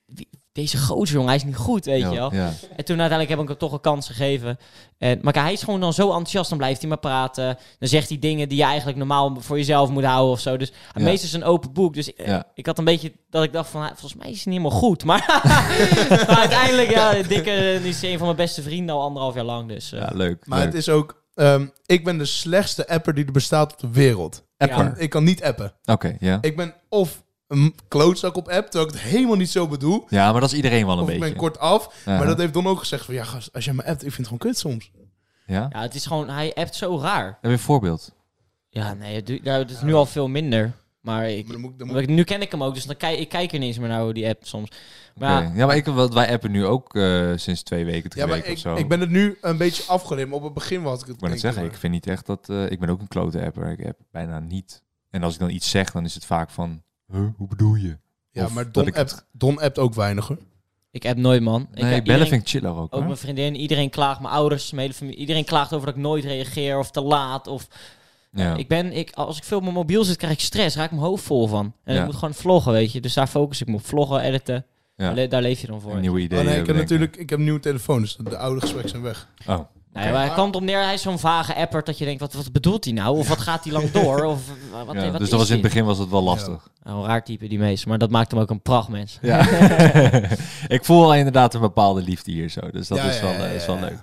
[SPEAKER 4] wie- Deze gozer, jongen, hij is niet goed, weet je wel?
[SPEAKER 3] Ja, ja.
[SPEAKER 4] En toen uiteindelijk heb ik hem toch een kans gegeven. En, maar kijk, hij is gewoon dan zo enthousiast, dan blijft hij maar praten. Dan zegt hij dingen die je eigenlijk normaal voor jezelf moet houden of zo. Dus
[SPEAKER 3] Ja.
[SPEAKER 4] meestal is het een open boek. Dus eh,
[SPEAKER 3] Ja.
[SPEAKER 4] ik had een beetje dat ik dacht van, ah, volgens mij is hij niet helemaal goed. Maar, maar uiteindelijk, ja, Dikke eh, is een van mijn beste vrienden al anderhalf jaar lang. Dus eh,
[SPEAKER 3] Ja, leuk.
[SPEAKER 5] Maar
[SPEAKER 3] leuk.
[SPEAKER 5] het is ook... ehm, ik ben de slechtste apper die er bestaat op de wereld.
[SPEAKER 3] Apper.
[SPEAKER 5] Ik kan niet appen.
[SPEAKER 3] Oké, ja.
[SPEAKER 5] Ik ben of een klootzak op app, terwijl ik het helemaal niet zo bedoel.
[SPEAKER 3] Ja, maar dat is iedereen wel een
[SPEAKER 5] Of ik
[SPEAKER 3] beetje.
[SPEAKER 5] ben kort af.
[SPEAKER 3] Ja.
[SPEAKER 5] Maar dat heeft Don ook gezegd van... Ja, gast, als jij me appt, ik vind het gewoon kut soms.
[SPEAKER 3] Ja?
[SPEAKER 4] ja, het is gewoon, hij appt zo raar.
[SPEAKER 3] Heb je een voorbeeld?
[SPEAKER 4] Ja, nee, het, du- nou, het is nu al veel minder. Maar ik,
[SPEAKER 5] Maar dan moet, ik- dan moet,
[SPEAKER 4] maar
[SPEAKER 5] ik-
[SPEAKER 4] ik- nu ken ik hem ook, dus dan kijk, ik kijk er niet eens meer naar hoe die appt soms. Maar
[SPEAKER 3] Oké. Ja, maar ik, want wij appen nu ook eh, sinds twee weken, drie
[SPEAKER 5] ja, maar
[SPEAKER 3] weken of
[SPEAKER 5] ik,
[SPEAKER 3] zo.
[SPEAKER 5] ik ben het nu een beetje afgeleid. maar Op het begin was ik het...
[SPEAKER 3] Ik ben het
[SPEAKER 5] denk
[SPEAKER 3] zeggen, ik
[SPEAKER 5] maar.
[SPEAKER 3] vind niet echt dat... eh, ik ben ook een klote apper. Ik app bijna niet. En als ik dan iets zeg, dan is het vaak van... Huh, hoe bedoel je?
[SPEAKER 5] Ja,
[SPEAKER 3] Of
[SPEAKER 5] maar
[SPEAKER 3] dat
[SPEAKER 5] Don
[SPEAKER 3] ik het-
[SPEAKER 5] appt, Don appt ook weinig, hoor.
[SPEAKER 4] ik app nooit, man. Ik
[SPEAKER 3] Nee,
[SPEAKER 4] heb-
[SPEAKER 3] bellen
[SPEAKER 4] iedereen-
[SPEAKER 3] vind ik chiller ook.
[SPEAKER 4] Ook
[SPEAKER 3] hoor.
[SPEAKER 4] mijn vriendin, iedereen klaagt, mijn ouders, mijn hele familie, iedereen klaagt over dat ik nooit reageer of te laat. Of
[SPEAKER 3] Ja.
[SPEAKER 4] ik ben, ik, als ik veel op mijn mobiel zit, krijg ik stress, raak ik mijn hoofd vol van. En
[SPEAKER 3] Ja.
[SPEAKER 4] ik moet gewoon vloggen, weet je. Dus daar focus ik me op. Vloggen, editen,
[SPEAKER 3] Ja.
[SPEAKER 4] daar le- daar leef je dan voor.
[SPEAKER 3] Een nieuwe idee.
[SPEAKER 5] Oh, nee, ik heb natuurlijk ik heb een nieuwe telefoon, dus de oude gesprekken zijn weg.
[SPEAKER 3] Oh,
[SPEAKER 4] Nou ja, maar hij komt op neer, hij is zo'n vage apper dat je denkt, wat, wat bedoelt hij nou? Of wat gaat hij lang door? Of eh, wat,
[SPEAKER 3] ja,
[SPEAKER 4] wat
[SPEAKER 3] dus
[SPEAKER 4] is
[SPEAKER 3] dat was in het
[SPEAKER 4] dit?
[SPEAKER 3] begin was het wel lastig.
[SPEAKER 4] Nou, een raar type die meest, maar dat maakt hem ook een prachtmens.
[SPEAKER 3] Ja. ik voel wel inderdaad een bepaalde liefde hier zo. Dus dat
[SPEAKER 5] Ja,
[SPEAKER 3] is,
[SPEAKER 5] ja,
[SPEAKER 3] wel,
[SPEAKER 5] ja,
[SPEAKER 3] eh,
[SPEAKER 5] ja,
[SPEAKER 3] is wel
[SPEAKER 5] ja.
[SPEAKER 3] leuk.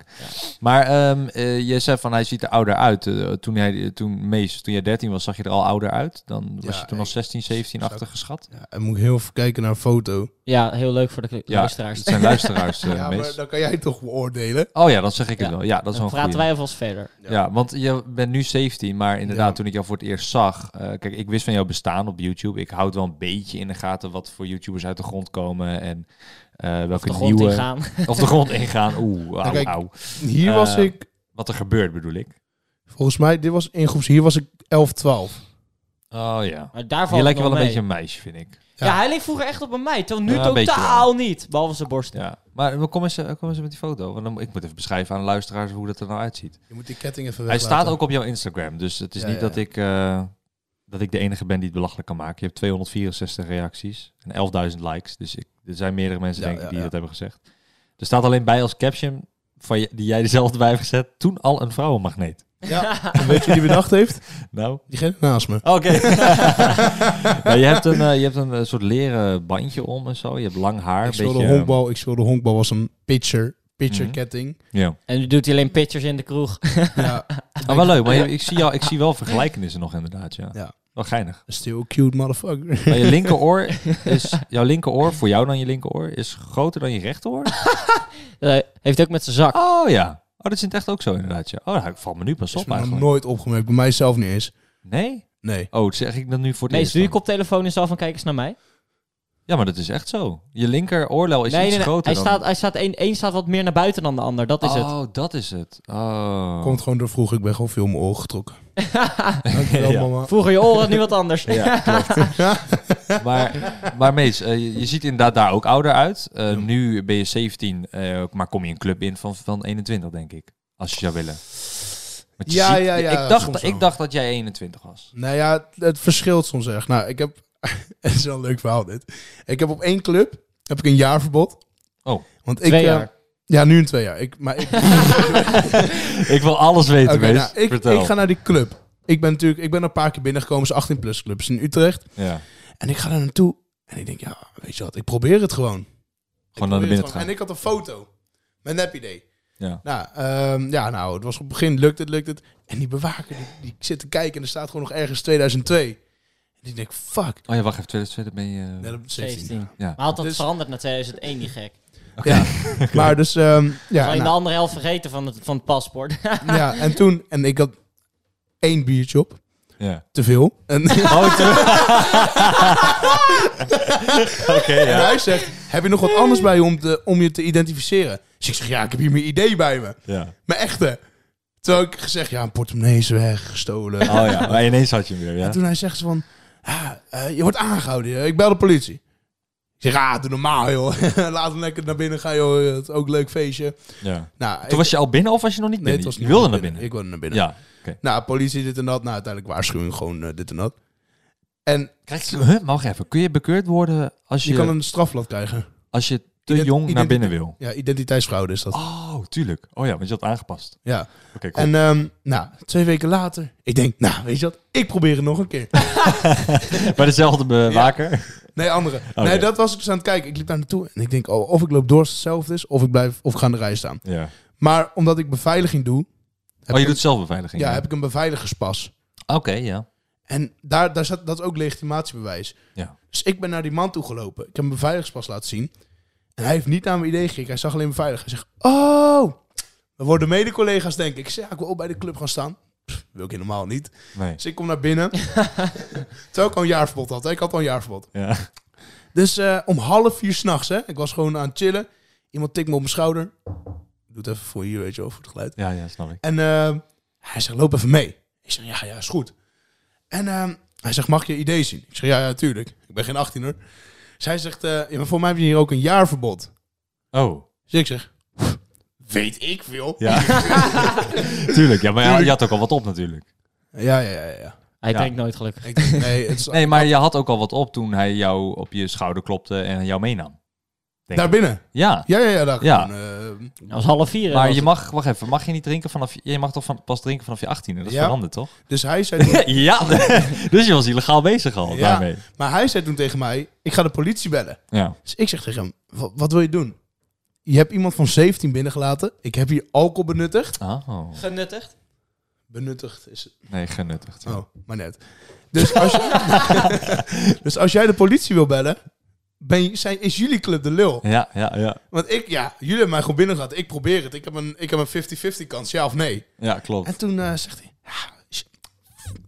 [SPEAKER 3] Maar ehm, eh, je zei van hij ziet er ouder uit. Eh, toen, hij, toen, Mees, toen jij 13 was, zag je er al ouder uit. Dan was
[SPEAKER 5] Ja,
[SPEAKER 3] je toen al
[SPEAKER 5] ik-
[SPEAKER 3] 16, 17,
[SPEAKER 5] zou-
[SPEAKER 3] 18 geschat.
[SPEAKER 5] Ja, en moet ik heel even kijken naar een foto.
[SPEAKER 4] Ja, heel leuk voor de kl-
[SPEAKER 3] Ja,
[SPEAKER 4] luisteraars.
[SPEAKER 3] Het zijn luisteraars, eh,
[SPEAKER 5] ja, maar
[SPEAKER 3] Mees.
[SPEAKER 5] dan kan jij toch beoordelen.
[SPEAKER 3] Oh ja, dat zeg ik het
[SPEAKER 4] Ja.
[SPEAKER 3] wel. Ja, dat is
[SPEAKER 4] Dan
[SPEAKER 3] wel een
[SPEAKER 4] praten
[SPEAKER 3] goeie.
[SPEAKER 4] wij alvast verder.
[SPEAKER 3] Ja. want je bent nu 17, maar inderdaad,
[SPEAKER 5] Ja.
[SPEAKER 3] toen ik jou voor het eerst zag... eh, kijk, ik wist van jouw bestaan op YouTube. Ik houd wel een beetje in de gaten wat voor YouTubers uit de grond komen... en eh,
[SPEAKER 4] Of
[SPEAKER 3] welke
[SPEAKER 4] de grond
[SPEAKER 3] nieuwe...
[SPEAKER 4] ingaan.
[SPEAKER 3] Of de grond ingaan. Oeh, auw,
[SPEAKER 5] Nou, kijk,
[SPEAKER 3] auw.
[SPEAKER 5] Hier
[SPEAKER 3] Eh,
[SPEAKER 5] was ik,
[SPEAKER 3] Wat er gebeurt, bedoel ik.
[SPEAKER 5] volgens mij, dit was in groeps, hier was ik 11, 12.
[SPEAKER 3] Oh ja.
[SPEAKER 4] Maar daar valt
[SPEAKER 3] Je
[SPEAKER 4] het
[SPEAKER 3] lijkt
[SPEAKER 4] nog
[SPEAKER 3] wel een
[SPEAKER 4] mee.
[SPEAKER 3] beetje een meisje, vind ik.
[SPEAKER 4] Ja. hij leek vroeger echt op een meid, terwijl nu
[SPEAKER 3] Ja, een beetje
[SPEAKER 4] totaal niet. Behalve zijn borst.
[SPEAKER 3] Ja. Maar kom eens, eh, kom eens met die foto. Want dan, ik moet even beschrijven aan de luisteraars hoe dat er nou uitziet.
[SPEAKER 5] Je moet die ketting even
[SPEAKER 3] Hij
[SPEAKER 5] weglaten.
[SPEAKER 3] staat ook op jouw Instagram. Dus het is
[SPEAKER 5] Ja,
[SPEAKER 3] niet
[SPEAKER 5] ja.
[SPEAKER 3] dat ik... eh, dat ik de enige ben die het belachelijk kan maken. Je hebt 264 reacties en 11.000 likes. Dus ik, er zijn meerdere mensen
[SPEAKER 5] Ja,
[SPEAKER 3] denk ik
[SPEAKER 5] ja,
[SPEAKER 3] die
[SPEAKER 5] ja.
[SPEAKER 3] dat hebben gezegd. Er staat alleen bij als caption van je, die jij er zelf bij hebt gezet. Toen al een vrouwenmagneet.
[SPEAKER 5] Ja. En weet je wie die bedacht heeft?
[SPEAKER 3] Nou,
[SPEAKER 5] Diegene naast me.
[SPEAKER 3] Oké. Ja, je hebt een, eh, je hebt een eh, soort leren bandje om en zo. Je hebt lang haar.
[SPEAKER 5] Ik
[SPEAKER 3] een
[SPEAKER 5] speelde
[SPEAKER 3] beetje, eh,
[SPEAKER 5] honkbal. Ik speelde honkbal was een pitcher. Pitcher
[SPEAKER 3] Mhm.
[SPEAKER 5] ketting.
[SPEAKER 3] Ja.
[SPEAKER 4] En nu doet hij alleen pitchers in de kroeg.
[SPEAKER 5] Ja.
[SPEAKER 3] Maar Oh, wel leuk. Maar je- ik, zie jou, ik zie wel vergelijkenissen nog inderdaad. Ja.
[SPEAKER 5] Ja.
[SPEAKER 3] Wel geinig.
[SPEAKER 5] Still cute motherfucker.
[SPEAKER 3] Maar je linkeroor is... Jouw linkeroor, voor jou dan je linkeroor, is groter dan je rechteroor?
[SPEAKER 4] Eh, heeft ook met zijn zak.
[SPEAKER 3] Oh ja. Oh, dat is in het echt ook zo inderdaad. Ja. Oh, ik val me nu pas op
[SPEAKER 5] Is me nog
[SPEAKER 3] eigenlijk.
[SPEAKER 5] nooit opgemerkt. Bij mijzelf niet eens.
[SPEAKER 3] Nee?
[SPEAKER 5] Nee.
[SPEAKER 3] Oh, zeg ik dat nu voor het
[SPEAKER 4] Nee,
[SPEAKER 3] eerst
[SPEAKER 4] doe je
[SPEAKER 3] dan?
[SPEAKER 4] koptelefoon eens af en kijk eens naar mij.
[SPEAKER 3] Ja, maar dat is echt zo. Je linkeroorlel is
[SPEAKER 4] nee,
[SPEAKER 3] iets
[SPEAKER 4] nee, nee.
[SPEAKER 3] groter
[SPEAKER 4] Hij
[SPEAKER 3] dan...
[SPEAKER 4] staat, hij staat één, één staat wat meer naar buiten dan de ander. Dat is het.
[SPEAKER 3] Oh, dat is het. Oh.
[SPEAKER 5] Komt gewoon door vroeg. Ik ben gewoon veel om mijn ogen getrokken. Dankjewel
[SPEAKER 3] Ja.
[SPEAKER 5] mama.
[SPEAKER 4] Vroeger je oren, nu wat anders.
[SPEAKER 3] Ja, klopt. maar, maar Mees, eh, je- je ziet inderdaad daar ook ouder uit. Eh, Nu ben je 17, eh, maar kom je een club in van, van 21, denk ik. Als je zou willen. Want je
[SPEAKER 5] Ja,
[SPEAKER 3] ziet-
[SPEAKER 5] ja, ja,
[SPEAKER 3] Ik
[SPEAKER 5] soms
[SPEAKER 3] dacht,
[SPEAKER 5] wel.
[SPEAKER 3] ik dacht dat jij 21 was.
[SPEAKER 5] Nou ja, het- het verschilt soms echt. Nou, ik heb... Het is wel een leuk verhaal dit. Ik heb op één club heb ik een jaarverbod.
[SPEAKER 3] Oh.
[SPEAKER 5] Want ik,
[SPEAKER 4] Twee
[SPEAKER 5] eh,
[SPEAKER 4] jaar.
[SPEAKER 5] Ja, nu in twee jaar. Ik, maar ik,
[SPEAKER 3] Ik wil alles weten,
[SPEAKER 5] Oké,
[SPEAKER 3] Mees.
[SPEAKER 5] nou, ik,
[SPEAKER 3] Vertel.
[SPEAKER 5] ik ga naar die club. Ik ben natuurlijk, ik ben een paar keer binnengekomen, is 18 plus clubs in Utrecht.
[SPEAKER 3] ja.
[SPEAKER 5] En ik ga daar naartoe. En ik denk, ja, weet je wat, ik probeer het gewoon. Ik
[SPEAKER 3] Gewoon naar
[SPEAKER 5] probeer
[SPEAKER 3] binnen
[SPEAKER 5] het
[SPEAKER 3] te gaan.
[SPEAKER 5] En ik had een foto. Mijn nep idee.
[SPEAKER 3] Ja.
[SPEAKER 5] Nou, ehm, ja, nou, het was op het begin, lukt het, lukt het. En die bewaker, die, die zit te kijken en er staat gewoon nog ergens 2002. En ik denk, fuck.
[SPEAKER 3] Oh ja, wacht even, 2020 ben je... eh,
[SPEAKER 5] Nee, dat is 17.
[SPEAKER 4] 17.
[SPEAKER 3] Ja.
[SPEAKER 4] Maar had dat
[SPEAKER 5] Dus-
[SPEAKER 4] veranderd naar 2001, die gek.
[SPEAKER 5] Ja, maar dus, ehm, ja,
[SPEAKER 4] Alleen de
[SPEAKER 5] nou,
[SPEAKER 4] andere helft vergeten van het, van het paspoort.
[SPEAKER 5] ja. En toen, en ik had één biertje op,
[SPEAKER 3] ja.
[SPEAKER 5] te veel. En,
[SPEAKER 3] Oh, Oké,
[SPEAKER 5] En
[SPEAKER 3] ja.
[SPEAKER 5] hij zegt, heb je nog wat anders bij je om, te, om je te identificeren? Dus ik zeg, ja, ik heb hier mijn idee bij me.
[SPEAKER 3] ja.
[SPEAKER 5] Mijn echte. Terwijl ik gezegd, ja, een portemonnee is weg, gestolen.
[SPEAKER 3] Oh ja, maar ineens had je hem weer, ja.
[SPEAKER 5] En toen hij zegt ze van, ah, eh, je wordt aangehouden. eh, Ik bel de politie. Ik zeg, ah, doe normaal, joh. Laat hem lekker naar binnen gaan, joh. Het is ook een leuk feestje.
[SPEAKER 3] ja.
[SPEAKER 5] Nou, ik-
[SPEAKER 3] Toen was je al binnen of was je nog niet
[SPEAKER 5] Nee,
[SPEAKER 3] binnen?
[SPEAKER 5] het was
[SPEAKER 3] je
[SPEAKER 5] niet
[SPEAKER 3] wilde naar binnen.
[SPEAKER 5] Ik wilde naar binnen.
[SPEAKER 3] Ja.
[SPEAKER 5] Nou, politie, dit en dat. Nou, uiteindelijk waarschuwing, gewoon eh, dit en dat. En
[SPEAKER 3] Krijg je, huh, mag even. Kun je bekeurd worden als je,
[SPEAKER 5] je kan een strafblad krijgen.
[SPEAKER 3] als je te
[SPEAKER 5] Ident-
[SPEAKER 3] jong naar
[SPEAKER 5] identi-
[SPEAKER 3] binnen wil?
[SPEAKER 5] Ja, identiteitsfraude is dat.
[SPEAKER 3] Oh, tuurlijk. Oh ja, want je had aangepast.
[SPEAKER 5] Ja.
[SPEAKER 3] Oké, cool.
[SPEAKER 5] En ehm, nou, twee weken later, ik denk, nou, weet je wat, ik probeer het nog een keer.
[SPEAKER 3] Bij dezelfde bewaker.
[SPEAKER 5] Nee, andere.
[SPEAKER 3] Oh,
[SPEAKER 5] nee,
[SPEAKER 3] ja.
[SPEAKER 5] dat was ik dus aan het kijken. Ik liep daar naartoe en ik denk, oh, of ik loop door als het hetzelfde is, of ik blijf, of ik ga aan de rij staan.
[SPEAKER 3] Ja.
[SPEAKER 5] Maar omdat ik beveiliging doe, heb,
[SPEAKER 3] Oh, je
[SPEAKER 5] ik,
[SPEAKER 3] doet zelfbeveiliging.
[SPEAKER 5] ja, heb ik een beveiligerspas.
[SPEAKER 3] Oké, ja.
[SPEAKER 5] En daar, daar zat, dat is ook legitimatiebewijs.
[SPEAKER 3] Ja.
[SPEAKER 5] Dus ik ben naar die man toe gelopen. Ik heb een beveiligerspas laten zien. En hij heeft niet aan mijn idee gekeken. Hij zag alleen beveiliger. Hij zegt, oh, we worden mede-collega's, denk ik. Ik zeg, ja, ik wil ook bij de club gaan staan. Pff, wil ik helemaal niet.
[SPEAKER 3] Nee.
[SPEAKER 5] Dus ik kom naar binnen. Terwijl ik al een jaarverbod had. hè. Ik had al een jaarverbod.
[SPEAKER 3] Ja.
[SPEAKER 5] Dus eh, om half vier s'nachts, hè. Ik was gewoon aan het chillen. Iemand tikt me op mijn schouder. Doe het even voor hier, weet je wel, voor het geluid.
[SPEAKER 3] ja, ja, snap ik.
[SPEAKER 5] En eh, hij zegt, loop even mee. Ik zeg, ja, ja, is goed. En eh, hij zegt, mag ik je idee zien? Ik zeg, ja, ja, tuurlijk. Ik ben geen 18 hoor. Zij zegt, eh, ja, maar voor mij heb je hier ook een jaarverbod.
[SPEAKER 3] Oh.
[SPEAKER 5] Dus ik zeg, weet ik veel.
[SPEAKER 3] Ja. tuurlijk. Ja, maar ja, je had ook al wat op natuurlijk.
[SPEAKER 5] Ja, ja, ja. ja, ja.
[SPEAKER 4] Hij
[SPEAKER 3] Ja.
[SPEAKER 4] drinkt nooit gelukkig.
[SPEAKER 5] Ik denk, nee, het is
[SPEAKER 3] Nee, maar je had ook al wat op toen hij jou op je schouder klopte en jou meenam. Denk
[SPEAKER 5] daar
[SPEAKER 3] ik.
[SPEAKER 5] binnen.
[SPEAKER 3] Ja.
[SPEAKER 5] Ja, ja, ja. Daar
[SPEAKER 3] Ja.
[SPEAKER 5] gewoon, eh,
[SPEAKER 4] Dat was half vier. hè,
[SPEAKER 3] Maar
[SPEAKER 4] was
[SPEAKER 3] je
[SPEAKER 4] Nou, het.
[SPEAKER 3] mag, wacht even, mag je niet drinken vanaf, je mag toch van, pas drinken vanaf je 18e? Dat is
[SPEAKER 5] Ja.
[SPEAKER 3] veranderd, toch?
[SPEAKER 5] dus hij zei... toen-
[SPEAKER 3] Ja, dus je was illegaal bezig al
[SPEAKER 5] Ja.
[SPEAKER 3] daarmee.
[SPEAKER 5] Maar hij zei toen tegen mij, ik ga de politie bellen.
[SPEAKER 3] Ja.
[SPEAKER 5] Dus ik zeg tegen hem, "Wa- wat wil je doen? Je hebt iemand van 17 binnengelaten. Ik heb hier alcohol benuttigd.
[SPEAKER 3] Oh,
[SPEAKER 4] genuttigd.
[SPEAKER 5] Benuttigd is het.
[SPEAKER 3] nee, genuttigd. ja.
[SPEAKER 5] Oh, maar net. Dus als, je- dus als jij de politie wil bellen, ben je, zijn, is jullie club de lul.
[SPEAKER 4] Oh.
[SPEAKER 3] Ja, ja, ja.
[SPEAKER 5] Want ik, ja, jullie hebben mij gewoon binnengelaten. Ik probeer het. Ik heb een ik heb een 50-50 kans, ja of nee.
[SPEAKER 3] Ja, klopt.
[SPEAKER 5] En toen eh, zegt hij, ja, sh-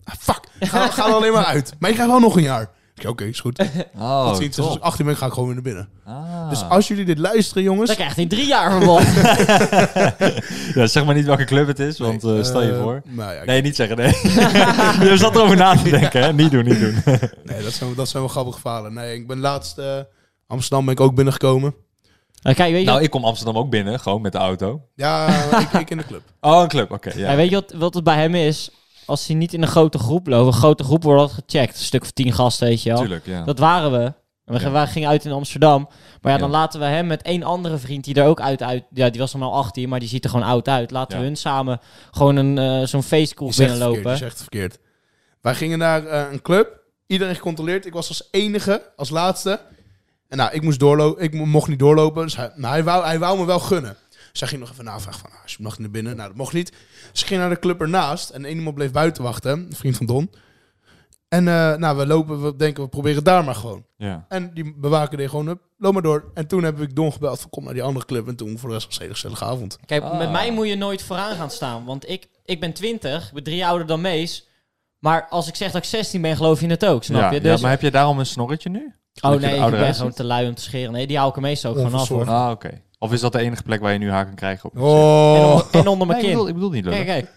[SPEAKER 5] ah, fuck, ga, ga er alleen maar uit. Maar je krijgt wel nog een jaar. Ik Ja, Oké, is goed.
[SPEAKER 3] Oh,
[SPEAKER 5] dat ziet, als ik
[SPEAKER 3] top.
[SPEAKER 5] 18 ben, ga ik gewoon weer naar binnen.
[SPEAKER 3] Ah.
[SPEAKER 5] Dus als jullie dit luisteren, jongens.
[SPEAKER 4] Dan krijgt hij drie jaar verbod.
[SPEAKER 3] ja, zeg maar niet welke club het is, want eh, stel je
[SPEAKER 5] eh,
[SPEAKER 3] voor.
[SPEAKER 5] nou ja,
[SPEAKER 3] Nee, niet zeggen, nee. je zat erover na te denken, hè? Niet doen, niet doen.
[SPEAKER 5] nee, dat, zijn, dat zijn wel grappige verhalen. Nee, ik ben laatst eh, Amsterdam ben ik ook binnengekomen.
[SPEAKER 4] Nou, kijk, weet je,
[SPEAKER 3] nou,
[SPEAKER 4] wat,
[SPEAKER 3] ik kom Amsterdam ook binnen, gewoon met de auto.
[SPEAKER 5] Ja, ik, ik in de club.
[SPEAKER 3] Oh, een club, oké. ja.
[SPEAKER 4] ja, weet je wat, wat het bij hem is? Als hij niet in een grote groep loopt, een grote groep wordt altijd gecheckt. Een stuk of tien gasten, weet je wel.
[SPEAKER 3] Tuurlijk, ja.
[SPEAKER 4] Dat waren we. En We
[SPEAKER 3] Ja.
[SPEAKER 4] gaan- we gingen uit in Amsterdam. Maar ja, dan
[SPEAKER 3] Ja.
[SPEAKER 4] laten we hem met één andere vriend die er ook uit... uit ja, die was dan al 18, maar die ziet er gewoon oud uit. Laten
[SPEAKER 3] Ja.
[SPEAKER 4] we hun samen gewoon een, eh, zo'n feestkoel
[SPEAKER 5] Je zegt, het verkeerd, je
[SPEAKER 4] binnenlopen.
[SPEAKER 5] zegt het verkeerd. Wij gingen naar eh, een club. Iedereen gecontroleerd. Ik was als enige, als laatste. En nou, ik moest doorlopen. Ik mo- mocht niet doorlopen. Dus hij, nou, hij, wou, hij wou me wel gunnen. Dus hij ging nog even navragen van, ah, je mag naar binnen. Nou, dat mocht niet. Dus ik ging naar de club ernaast. En één iemand bleef buiten wachten. Een vriend van Don. En eh, nou, we lopen, we denken, we proberen daar maar gewoon.
[SPEAKER 3] ja.
[SPEAKER 5] En die bewaker deed gewoon, hup, loop maar door. En toen heb ik Don gebeld van, kom naar die andere club. En toen voor de rest was het een hele gezellige avond.
[SPEAKER 4] Kijk,
[SPEAKER 3] Ah.
[SPEAKER 4] met mij moet je nooit vooraan gaan staan. Want ik, ik ben 20, ik ben drie jaar ouder dan Mees. Maar als ik zeg dat ik 16 ben, geloof je het ook, snap
[SPEAKER 3] Ja,
[SPEAKER 4] je?
[SPEAKER 3] ja,
[SPEAKER 4] Dus,
[SPEAKER 3] maar heb je daarom een snorretje nu?
[SPEAKER 4] oh
[SPEAKER 3] dat je
[SPEAKER 4] nee,
[SPEAKER 3] er
[SPEAKER 4] ik
[SPEAKER 3] ouder
[SPEAKER 4] ben
[SPEAKER 3] uitziet?
[SPEAKER 4] gewoon te lui om te scheren. Nee, die hou ik er meestal ook gewoon af hoor.
[SPEAKER 5] Onverzorgd.
[SPEAKER 3] Ah, oké. Of is dat de enige plek waar je nu haken krijgt? Op?
[SPEAKER 4] En
[SPEAKER 5] Oh,
[SPEAKER 4] onder, en onder mijn
[SPEAKER 3] Nee, ik, bedoel,
[SPEAKER 4] kin.
[SPEAKER 3] ik bedoel niet
[SPEAKER 4] Kijk,
[SPEAKER 3] lullig.
[SPEAKER 4] kijk.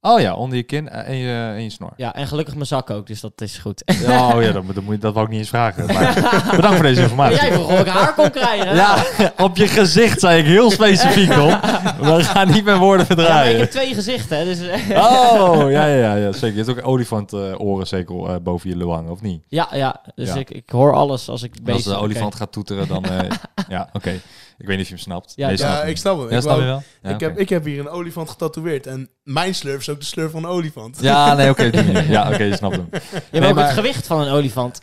[SPEAKER 3] Oh ja, onder je kin eh, en je, en je snor.
[SPEAKER 4] Ja, en gelukkig mijn zak ook, dus dat is goed.
[SPEAKER 3] Ja, Oh ja, dat, dat, moet je, dat wou ik niet eens vragen. Maar bedankt voor deze
[SPEAKER 4] Maar
[SPEAKER 3] informatie.
[SPEAKER 4] jij vroeg of ik haar kon krijgen.
[SPEAKER 3] Ja, op je gezicht zei ik heel specifiek op. We gaan niet met woorden
[SPEAKER 4] Ja, maar ik
[SPEAKER 3] verdraaien.
[SPEAKER 4] heb twee gezichten, hè, dus...
[SPEAKER 3] Oh, ja, ja, ja, ja, zeker. Je hebt ook olifantoren oren zeker eh, boven je lul hangen, of niet?
[SPEAKER 4] Ja, ja, dus
[SPEAKER 3] Ja.
[SPEAKER 4] Ik, ik hoor alles als ik bezig
[SPEAKER 3] En
[SPEAKER 4] ben.
[SPEAKER 3] Als de
[SPEAKER 4] Oké.
[SPEAKER 3] olifant gaat toeteren, dan... eh, ja, oké. Ik weet niet of je hem snapt.
[SPEAKER 4] Ja,
[SPEAKER 3] Nee,
[SPEAKER 4] ik-
[SPEAKER 3] snap
[SPEAKER 5] ja,
[SPEAKER 3] hem.
[SPEAKER 5] ik snap hem.
[SPEAKER 3] Ja,
[SPEAKER 5] ik
[SPEAKER 3] snap
[SPEAKER 5] wou-
[SPEAKER 3] je wel? Ja,
[SPEAKER 5] ik, heb,
[SPEAKER 3] oké.
[SPEAKER 5] ik heb hier een olifant getatoeëerd. En mijn slurf is ook de slurf van een olifant.
[SPEAKER 3] Ja, nee, oké. op die manier. Ja, oké, je snapt hem.
[SPEAKER 4] Je hebt
[SPEAKER 3] Nee,
[SPEAKER 4] ook
[SPEAKER 3] maar-
[SPEAKER 4] het gewicht van een olifant.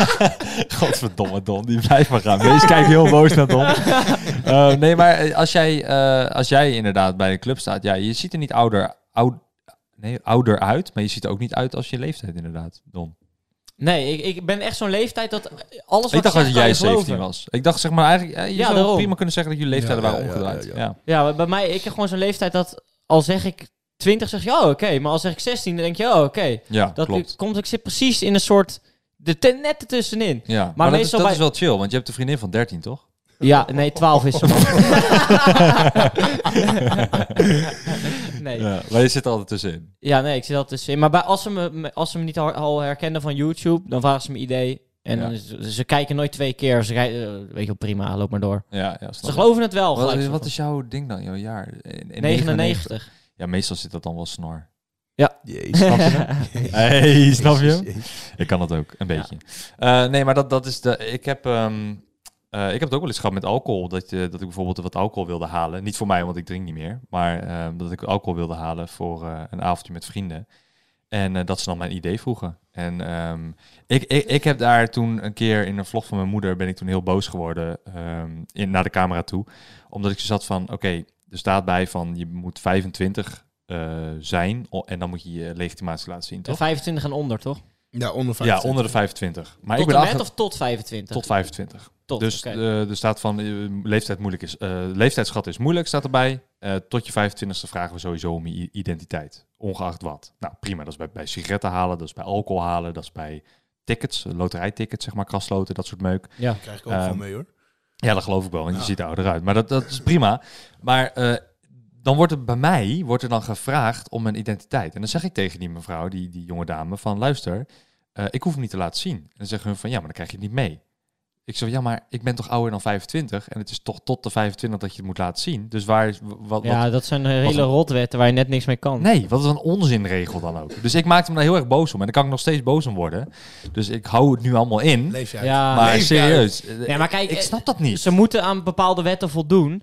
[SPEAKER 3] Godverdomme Don, die blijft maar gaan. Wees kijkt heel boos naar Don. Eh, nee, maar eh, als jij, eh, als jij inderdaad bij de club staat, ja, je ziet er niet ouder, oud, nee, ouder uit, maar je ziet er ook niet uit als je leeftijd inderdaad, Don.
[SPEAKER 4] Nee, ik, ik ben echt zo'n leeftijd dat alles wat
[SPEAKER 3] ik dacht
[SPEAKER 4] zeg,
[SPEAKER 3] dat
[SPEAKER 4] kan
[SPEAKER 3] jij
[SPEAKER 4] je
[SPEAKER 3] 17
[SPEAKER 4] geloven.
[SPEAKER 3] was. Ik dacht zeg maar eigenlijk, eh, je
[SPEAKER 4] Ja,
[SPEAKER 3] zou
[SPEAKER 4] daarom.
[SPEAKER 3] prima kunnen zeggen dat jullie leeftijden
[SPEAKER 5] Ja,
[SPEAKER 3] waren
[SPEAKER 5] ja, ja,
[SPEAKER 3] omgedraaid. Ja,
[SPEAKER 5] ja,
[SPEAKER 4] Ja, maar bij mij, ik heb gewoon zo'n leeftijd dat al zeg ik 20, zeg je, oh oké. Maar als zeg ik 16, dan denk je, oh oké.
[SPEAKER 3] Ja,
[SPEAKER 4] Dat
[SPEAKER 3] klopt.
[SPEAKER 4] komt, ik zit precies in een soort, de ten, net ertussenin.
[SPEAKER 3] Ja, maar, dat, is,
[SPEAKER 4] meestal
[SPEAKER 3] dat
[SPEAKER 4] bij-
[SPEAKER 3] is wel chill, want je hebt een vriendin van 13, toch?
[SPEAKER 4] Ja, nee, 12 is ze man. nee.
[SPEAKER 3] Ja, maar je zit er altijd tussenin.
[SPEAKER 4] Ja, nee, ik zit altijd tussenin. Maar bij, als, ze me- me, als ze me niet al, al herkennen van YouTube, dan vragen ze me idee. En
[SPEAKER 3] Ja.
[SPEAKER 4] dan is- ze kijken nooit twee keer. Ze kijken, eh, weet je wel, prima, loop maar door.
[SPEAKER 3] Ja, ja,
[SPEAKER 4] Ze
[SPEAKER 3] snap ik.
[SPEAKER 4] geloven het wel.
[SPEAKER 3] Wat,
[SPEAKER 4] gelijk
[SPEAKER 3] wat
[SPEAKER 4] zo
[SPEAKER 3] is jouw ding dan, jouw jaar? In- in
[SPEAKER 4] van. 99.
[SPEAKER 3] Ja, meestal zit dat dan wel snor.
[SPEAKER 5] Jezus.
[SPEAKER 3] Hey, snap je?
[SPEAKER 5] Jezus.
[SPEAKER 3] Ik kan dat ook, een
[SPEAKER 4] Ja.
[SPEAKER 3] beetje. Eh, nee, maar dat, dat is de. Ik heb, ehm, eh, ik heb het ook wel eens gehad met alcohol. Dat, je, dat ik bijvoorbeeld wat alcohol wilde halen. Niet voor mij, want ik drink niet meer. Maar ehm, dat ik alcohol wilde halen voor eh, een avondje met vrienden. En eh, dat ze dan mijn idee vroegen. En ehm, ik, ik, ik heb daar toen een keer in een vlog van mijn moeder ben ik toen heel boos geworden ehm, in, naar de camera toe. Omdat ik zo zat van oké, er staat bij van je moet 25 eh, zijn. o- En dan moet je je legitimatie laten zien.
[SPEAKER 4] En
[SPEAKER 3] Toch?
[SPEAKER 4] 25 en onder, toch?
[SPEAKER 5] Ja, onder
[SPEAKER 3] Ja,
[SPEAKER 5] 25.
[SPEAKER 3] onder de 25. Maar
[SPEAKER 4] tot
[SPEAKER 3] ik ben
[SPEAKER 4] en met
[SPEAKER 3] achter...
[SPEAKER 4] of tot 25?
[SPEAKER 3] tot 25.
[SPEAKER 4] Tot,
[SPEAKER 3] dus
[SPEAKER 4] oké.
[SPEAKER 3] eh, er staat van eh, leeftijd moeilijk is. eh, leeftijdsschat is moeilijk, staat erbij. Eh, tot je 25ste vragen we sowieso om je i- identiteit. Ongeacht wat. Nou, prima. Dat is bij, bij sigaretten halen, dat is bij alcohol halen, dat is bij tickets, eh, loterijtickets, zeg maar, krasloten, dat soort meuk.
[SPEAKER 4] ja.
[SPEAKER 5] Dat krijg ik ook
[SPEAKER 3] Ehm,
[SPEAKER 5] van mee hoor.
[SPEAKER 3] Ja, dat geloof ik wel, want je
[SPEAKER 4] Ah.
[SPEAKER 5] Ja.
[SPEAKER 3] ziet er ouder uit. Maar dat, dat is prima. Maar eh, dan wordt er bij mij wordt er dan gevraagd om mijn identiteit. En dan zeg ik tegen die mevrouw, die, die jonge dame, van luister, eh, ik hoef hem niet te laten zien. En dan zeggen hun van ja, maar dan krijg je het niet mee. Ik zeg ja, maar ik ben toch ouder dan 25 en het is toch tot de 25 dat je het moet laten zien. Dus waar is wa- wat, wat
[SPEAKER 4] ja, dat zijn eh, hele
[SPEAKER 3] wat-
[SPEAKER 4] rotwetten waar je net niks mee kan.
[SPEAKER 3] Nee, wat is een onzinregel dan ook. Dus ik maakte me daar heel erg boos om en daar kan ik nog steeds boos om worden. Dus ik hou het nu allemaal in.
[SPEAKER 5] Leef jij.
[SPEAKER 4] Ja,
[SPEAKER 3] maar
[SPEAKER 5] leef
[SPEAKER 3] serieus, eh,
[SPEAKER 4] Nee, maar kijk,
[SPEAKER 3] ik
[SPEAKER 4] eh,
[SPEAKER 3] snap dat niet.
[SPEAKER 4] ze moeten aan bepaalde wetten voldoen.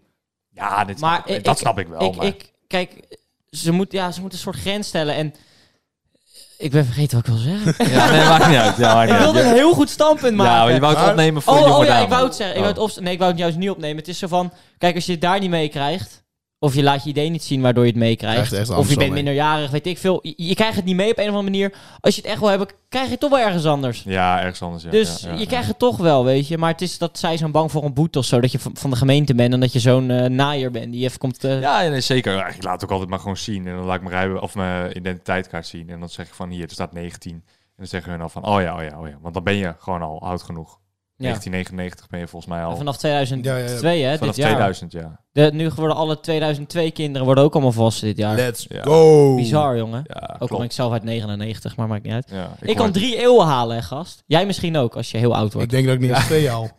[SPEAKER 3] Ja, dit
[SPEAKER 4] Maar
[SPEAKER 3] snap ik-
[SPEAKER 4] ik-
[SPEAKER 3] dat snap ik wel.
[SPEAKER 4] ik,
[SPEAKER 3] maar-
[SPEAKER 4] ik, kijk, ze, moet, ja, ze moeten een soort grens stellen. En ik ben vergeten wat ik wil zeggen.
[SPEAKER 3] Ja, nee, maakt niet uit. Ja, maakt
[SPEAKER 4] ik
[SPEAKER 3] niet
[SPEAKER 4] wilde
[SPEAKER 3] uit.
[SPEAKER 4] een heel goed standpunt
[SPEAKER 3] Ja,
[SPEAKER 4] maken.
[SPEAKER 3] maar je wou het
[SPEAKER 5] Maar-
[SPEAKER 3] opnemen voor de
[SPEAKER 4] Oh,
[SPEAKER 3] jonge
[SPEAKER 4] oh ja,
[SPEAKER 3] dame.
[SPEAKER 4] ik wou het zeggen. Ik
[SPEAKER 3] Oh.
[SPEAKER 4] wou het opst- nee, ik wou het juist niet opnemen. Het is zo van, kijk, als je het daar niet mee krijgt, of je laat je idee niet zien waardoor je het meekrijgt,
[SPEAKER 5] Echt, echt
[SPEAKER 4] of je
[SPEAKER 5] Amsterdam,
[SPEAKER 4] bent
[SPEAKER 5] hè?
[SPEAKER 4] minderjarig, weet ik veel. Je, je krijgt het niet mee op een of andere manier. Als je het echt wil hebben, krijg je het toch wel ergens anders.
[SPEAKER 3] Ja, ergens anders. Ja,
[SPEAKER 4] dus
[SPEAKER 3] ja, ja,
[SPEAKER 4] je
[SPEAKER 3] ja.
[SPEAKER 4] krijgt het toch wel, weet je. Maar het is dat zij zijn bang voor een boete of zo, dat je van, van de gemeente bent en dat je zo'n eh, naaier bent die even komt... eh,
[SPEAKER 3] Ja, ja, nee, zeker. Ja, Ik laat het ook altijd maar gewoon zien. En dan laat ik mijn, rijbe- of mijn identiteitskaart zien. En dan zeg ik van hier, er staat 19. dan zeggen hun al van, oh ja, oh ja, oh ja. Want dan ben je gewoon al oud genoeg.
[SPEAKER 4] Ja.
[SPEAKER 3] 1999 ben je volgens mij al.
[SPEAKER 4] En Vanaf 2002, hè,
[SPEAKER 3] Vanaf
[SPEAKER 4] dit jaar.
[SPEAKER 3] 2000, ja.
[SPEAKER 4] De, nu worden alle 2002 kinderen worden ook allemaal volwassen dit jaar.
[SPEAKER 5] Let's
[SPEAKER 3] Ja.
[SPEAKER 5] go.
[SPEAKER 4] Bizar, jongen.
[SPEAKER 3] Ja,
[SPEAKER 4] ook al ben ik
[SPEAKER 3] klopt.
[SPEAKER 4] zelf uit 99, maar maakt niet uit.
[SPEAKER 3] Ja,
[SPEAKER 4] Ik, kan
[SPEAKER 3] hoor-
[SPEAKER 4] drie eeuwen halen, hè, gast. Jij misschien ook, als je heel oud
[SPEAKER 5] Ik
[SPEAKER 4] wordt.
[SPEAKER 5] denk dat ik niet eens twee haal.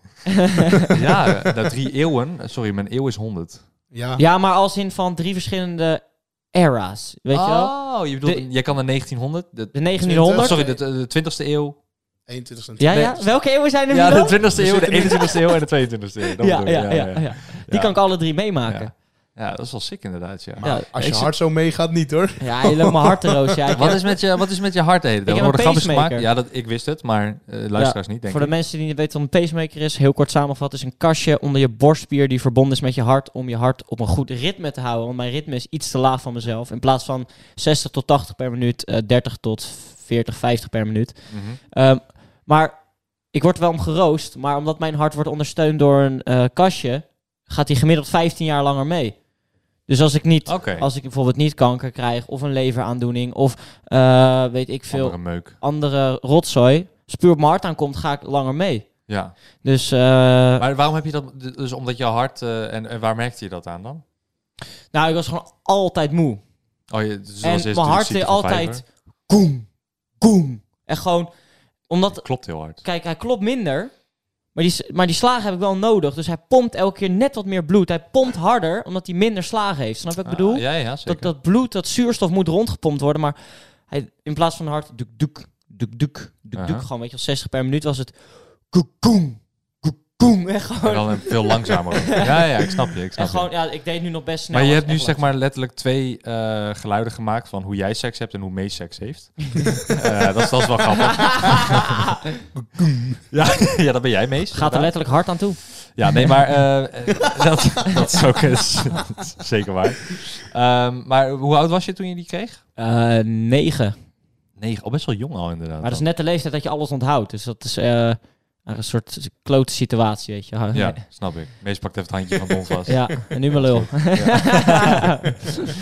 [SPEAKER 3] Ja, dat drie eeuwen. Sorry, mijn eeuw is 100.
[SPEAKER 5] Ja.
[SPEAKER 4] Ja, maar als in van drie verschillende era's, weet je wel?
[SPEAKER 3] Oh, je bedoelt,
[SPEAKER 4] De-
[SPEAKER 3] jij kan naar 1900? De,
[SPEAKER 4] De 1900.
[SPEAKER 3] sorry, de, de 20ste eeuw.
[SPEAKER 5] 21 cent.
[SPEAKER 4] Ja,
[SPEAKER 3] Nee.
[SPEAKER 4] ja. Welke eeuwen zijn er
[SPEAKER 3] Ja,
[SPEAKER 4] nu
[SPEAKER 3] de
[SPEAKER 4] dan?
[SPEAKER 3] 20ste eeuw, de
[SPEAKER 5] zitten
[SPEAKER 3] 21ste eeuw en de 22ste eeuw. Dat
[SPEAKER 4] ja,
[SPEAKER 3] bedoel ik,
[SPEAKER 4] ja, ja, ja,
[SPEAKER 3] ja.
[SPEAKER 4] Die kan ik alle drie meemaken.
[SPEAKER 3] Ja, dat is wel sick inderdaad, ja.
[SPEAKER 4] Ja,
[SPEAKER 5] Als
[SPEAKER 4] ik
[SPEAKER 5] je
[SPEAKER 4] zit-
[SPEAKER 5] hart zo meegaat, niet hoor.
[SPEAKER 4] Ja, helemaal hard, Roos. Ja, ik-
[SPEAKER 3] Wat is met je, wat is met je hart eten?
[SPEAKER 4] heb
[SPEAKER 3] Er
[SPEAKER 4] een
[SPEAKER 3] worden grapjes
[SPEAKER 4] pacemaker.
[SPEAKER 3] gemaakt. Ja, dat, ik wist het, maar eh, luisteraars niet, denk
[SPEAKER 4] Voor
[SPEAKER 3] ik.
[SPEAKER 4] de mensen die niet weten wat een pacemaker is, heel kort samenvat, is een kastje onder je borstspier die verbonden is met je hart om je hart op een goed ritme te houden. Want mijn ritme is iets te laag van mezelf. In plaats van 60 tot 80 per minuut, eh, 30 tot 40, 50 per minuut.
[SPEAKER 3] Mhm.
[SPEAKER 4] Ehm, maar ik word wel om geroost, maar omdat mijn hart wordt ondersteund door een eh, kastje, gaat hij gemiddeld 15 jaar langer mee. Dus als ik niet,
[SPEAKER 3] Oké,
[SPEAKER 4] als ik bijvoorbeeld niet kanker krijg, of een leveraandoening, of eh, weet ik veel,
[SPEAKER 3] andere meuk.
[SPEAKER 4] andere rotzooi. Als puur op mijn hart aankomt, ga ik langer mee.
[SPEAKER 3] Ja.
[SPEAKER 4] Dus eh,
[SPEAKER 3] Maar waarom heb je dat... Dus omdat je hart... eh, en, en waar merkte je dat aan dan?
[SPEAKER 4] nou, ik was gewoon altijd moe.
[SPEAKER 3] Oh, je, zoals
[SPEAKER 4] En
[SPEAKER 3] eerst
[SPEAKER 4] mijn
[SPEAKER 3] de
[SPEAKER 4] hart
[SPEAKER 3] ziekte
[SPEAKER 4] deed
[SPEAKER 3] van
[SPEAKER 4] altijd
[SPEAKER 3] Vijver.
[SPEAKER 4] koem, koem. En gewoon, omdat,
[SPEAKER 3] Klopt heel hard.
[SPEAKER 4] kijk, hij klopt minder, maar die, s- maar die slagen heb ik wel nodig. Dus hij pompt elke keer net wat meer bloed. Hij pompt harder, omdat hij minder slagen heeft. Snap je wat ik bedoel?
[SPEAKER 3] Ah, ja, ja, zeker.
[SPEAKER 4] dat, dat bloed, dat zuurstof moet rondgepompt worden, maar hij, in plaats van hard, duk, duk, duk, duk, duk,
[SPEAKER 3] Aha.
[SPEAKER 4] duk, gewoon, weet je, wel, 60 per minuut was het koekoem, koekoem. En gewoon,
[SPEAKER 3] En dan een veel langzamer. ook. ja, ja, ik snap je. Ik snap
[SPEAKER 4] En
[SPEAKER 3] je.
[SPEAKER 4] gewoon, ja, ik deed nu nog best snel.
[SPEAKER 3] maar je hebt
[SPEAKER 4] Nou, was
[SPEAKER 3] nu
[SPEAKER 4] echt
[SPEAKER 3] zeg
[SPEAKER 4] lang.
[SPEAKER 3] maar letterlijk twee eh, geluiden gemaakt van hoe jij seks hebt en hoe Mees seks heeft. Eh, dat, is, dat is wel grappig. ja, ja, dat ben jij Mees.
[SPEAKER 4] Gaat er
[SPEAKER 3] inderdaad.
[SPEAKER 4] letterlijk hard aan toe.
[SPEAKER 3] Ja, nee, maar eh, eh, dat, dat is ook eens, zeker waar. Ehm, maar hoe oud was je toen je die kreeg?
[SPEAKER 4] negen.
[SPEAKER 3] Eh, Negen, al best wel jong al inderdaad.
[SPEAKER 4] Maar dat is net de leeftijd dat je alles onthoudt. Dus dat is eh, een soort klote situatie, weet je.
[SPEAKER 3] Ja, snap ik. Mees pakt even het handje van ons vast.
[SPEAKER 4] Ja, en nu mijn lul.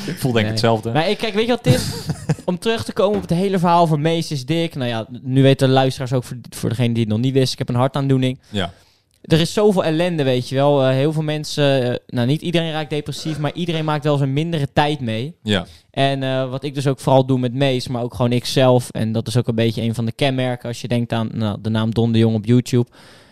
[SPEAKER 3] Ik voel denk ik
[SPEAKER 4] Nee.
[SPEAKER 3] hetzelfde.
[SPEAKER 4] Maar ik, kijk, weet je wat het is? Om terug te komen op het hele verhaal van Mees is dik. Nou ja, nu weten de luisteraars ook, voor, voor degene die het nog niet wist, ik heb een hartaandoening.
[SPEAKER 3] Ja.
[SPEAKER 4] Er is zoveel ellende, weet je wel. Eh, heel veel mensen, eh, nou niet iedereen raakt depressief, maar iedereen maakt wel zijn mindere tijd mee.
[SPEAKER 3] Ja.
[SPEAKER 4] En eh, wat ik dus ook vooral doe met Mees, maar ook gewoon ikzelf. En dat is ook een beetje een van de kenmerken als je denkt aan nou, de naam Don de Jong op YouTube.